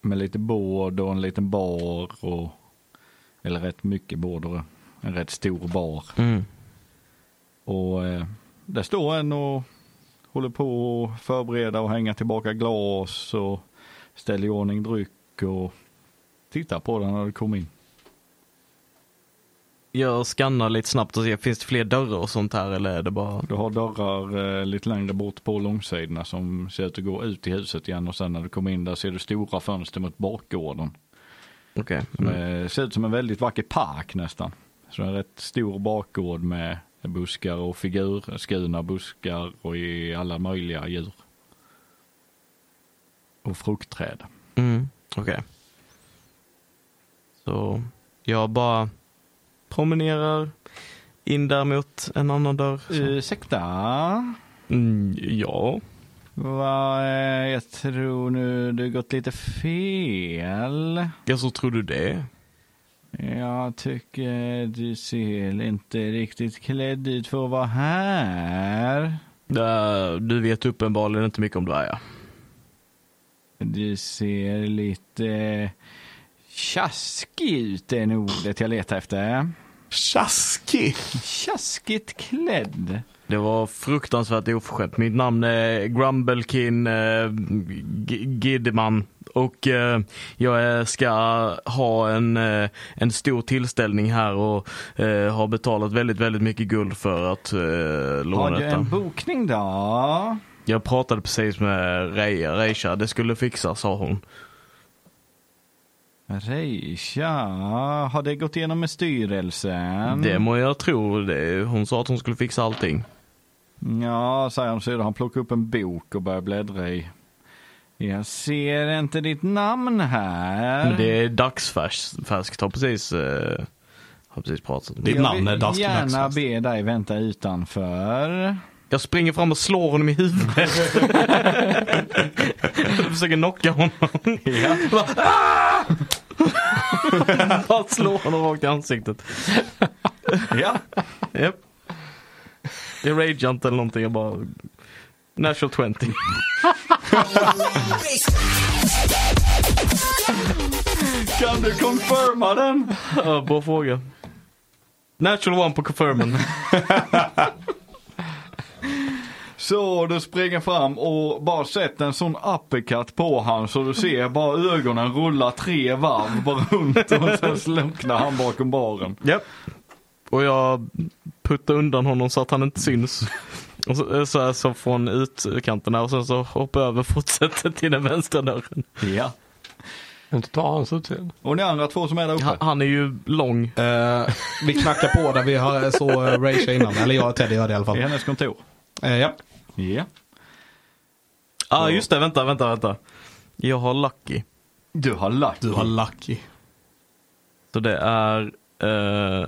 Med lite bord och en liten bar och, eller rätt mycket bord och en rätt stor bar. Mm. Och eh, där står en och håller på att förbereda och hänga tillbaka glas och ställer i ordning dryck och tittar på den när du kommer in. Jag skannar lite snabbt och ser, finns det fler dörrar och sånt här eller är det bara... Du har dörrar eh, lite längre bort på långsidorna som ser ut att gå ut i huset igen och sen när du kommer in där ser du stora fönster mot bakgården. Okej. Som Mm. eh, ser ut som en väldigt vacker park nästan. Så en rätt stor bakgård med buskar och figurskurna buskar och i alla möjliga djur. Och fruktträd. Mm. Okej. Så jag bara promenerar in där mot en annan dörr. Så. Ursäkta? Eh, Mm, ja. Va, eh, jag tror nu du gått lite fel. Jag så tror du det? Jag tycker du ser inte riktigt klädd ut för att vara här. Äh, Du vet uppenbarligen inte mycket om dvärgar. Du ser lite eh, tjaskig ut är nog ordet jag letar efter. Tjaskig! Tjaskigt klädd. Det var fruktansvärt oförskämt. Mitt namn är Grumblekin eh, G- Giddeman och eh, jag eh, ska ha en, eh, en stor tillställning här och eh, har betalat väldigt, väldigt mycket guld för att eh, Har låna du detta. en bokning då? Jag pratade precis med Reija. Reisha, det skulle fixas sa hon. Reisha, har det gått igenom med styrelsen? Det må jag tro. Det, hon sa att hon skulle fixa allting. Ja, säger han sedan. Han plockar upp en bok och börjar bläddra i. Jag ser inte ditt namn här. Det är dagsfärskt. färskt. Har precis, eh, har precis pratat om det. Ditt jag namn är vill Dask gärna Dagsfast. be dig vänta utanför. Jag springer fram och slår honom i huvudet. jag försöker knocka honom. Ja. Bara, "Ah!" Bara slår honom rakt i ansiktet. ja. Japp. Jag ragear inte eller någonting, jag bara... National 20. Kan du confirma den? Ja, bra fråga. Natural one på confirmen. Så du springer fram och bara sätter en sån uppercut på han så du ser bara ögonen rulla tre varv bara runt och sen slunknar han bakom baren. Japp. Och jag puttar undan honom så att han inte syns. Och så, så, här, så från utkanten här och sen så hoppar jag över och fortsätter till den vänstra dörren. Ja. Inte ta hans utseende. Och ni andra två som är där uppe? Han, han är ju lång. Eh, vi knackar på där vi har så Raisha innan. Eller jag och Teddy gör det i alla fall. I hennes kontor? Eh, ja. Ja. Ja ah, just det, vänta, vänta, vänta. Jag har Lucky. Du har lagt Du har lucky. Så det är eh,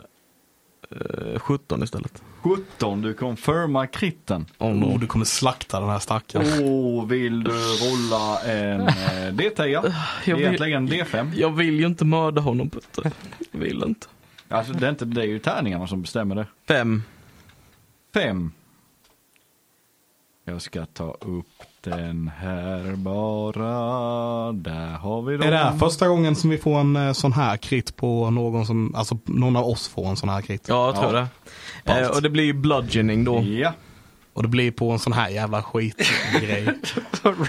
eh, 17 istället. 17, du confirmar kritten. Om Oh, du kommer slakta den här stackaren. Åh, oh, vill du rulla en eh, D10? jag, vill, Egentligen D5. jag vill ju inte mörda honom Putte. Jag vill inte. Alltså det är inte det är ju tärningarna som bestämmer det. Fem. Fem. Jag ska ta upp den här bara. Där har vi dem. Mm. Är det här första gången som vi får en eh, sån här krit på någon som, alltså någon av oss får en sån här krit? Ja, jag tror Ja. det. Eh, och det blir ju bludgeoning då. Ja. Och det blir på en sån här jävla skitgrej.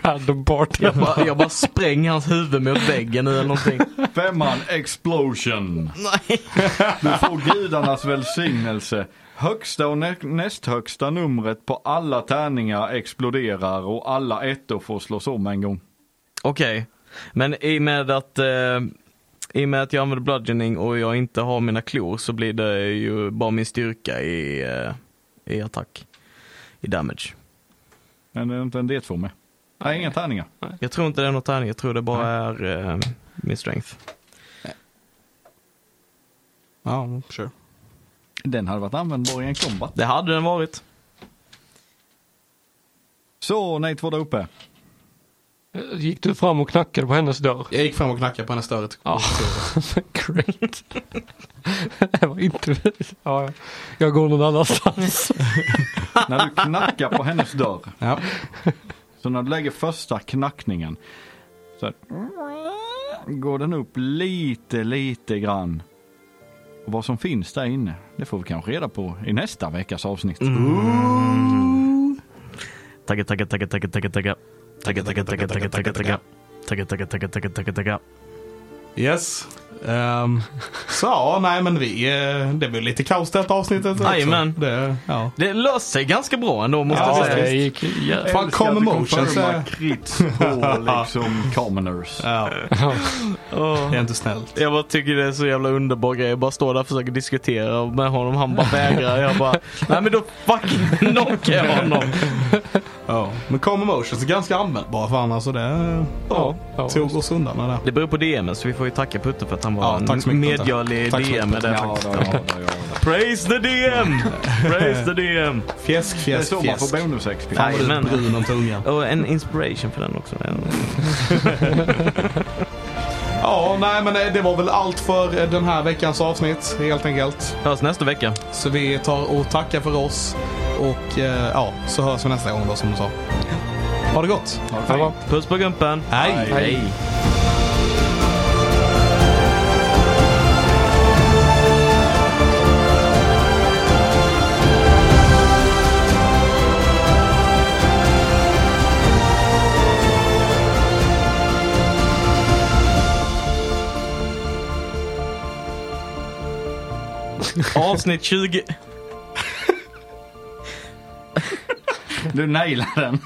Random part. Jag bara, jag bara spränger hans huvud mot väggen nu eller någonting. Femman explosion. Nej. Du får gudarnas välsignelse. Högsta och nä- näst högsta numret på alla tärningar exploderar och alla ettor får slås om en gång. Okej. Men i och med att eh, i och med att jag använder bludgeoning och jag inte har mina klor så blir det ju bara min styrka i, eh, i attack. I damage. Men det är inte en D2 med. Nej, inga tärningar. Jag tror inte det är något tärning, jag tror det bara är eh, min strength. ja, sure. Den hade varit användbar i en kombat. Det hade den varit. Så, Nate var där uppe. Gick du fram och knackade på hennes dörr? Jag gick fram och knackade på hennes dörr. Ja. Great. det var inte... Ja, ja. jag går någon annanstans. När du knackar på hennes dörr. Ja. Så när du lägger första knackningen. Så här, går den upp lite, lite grann. Och vad som finns där inne, det får vi kanske reda på i nästa veckas avsnitt. Tagga, tagga, tagga, tagga, tagga, tagga. Tagga, tagga, tagga, tagga, tagga, tagga. Tagga, tagga, tagga, tagga, tagga, tagga. Yes. Ehm, så ja, nej men vi, eh, det blev lite kaos detta avsnittet också. Jajamän. Det, ja. Det löste sig ganska bra ändå måste Ja, jag säga. det gick jävligt. Fan, Älskar come att du emotions, confirmar eh. crits på liksom commoners. ja. Åh. Det är inte snällt. Jag bara tycker det är så jävla underbar grej. Jag bara står där och försöker diskutera med honom. Han bara vägrar. Jag bara, nej men då fucking knockar jag honom. Ja. Men come emotions är ganska användbara för annars. Så det Ja, ja. tog oss undan med det. Det beror på DM så vi får ju tacka Putte för att han var Ja, tack så en mycket, Putte. medgörlig Tack så mycket, DM. Med Putte. det. Ja, då, ja, då, ja, då. Praise the DM! Praise the DM! Fjäsk, Det är fjäsk, så man får fjäsk. bonus XP. Fan vad du Du Jajamän. brun om tungan. Och en inspiration för den också. Ja, nej men eh, det var väl allt för eh, den här veckans avsnitt helt enkelt. Hörs nästa vecka. Så vi tar och tackar för oss. Och eh, ja, så hörs vi nästa gång då som du sa. Ha det gott! Ha det Ja, fint. va. Puss på gumpen! Hej. Hej. Avsnitt 20. Du nailar den.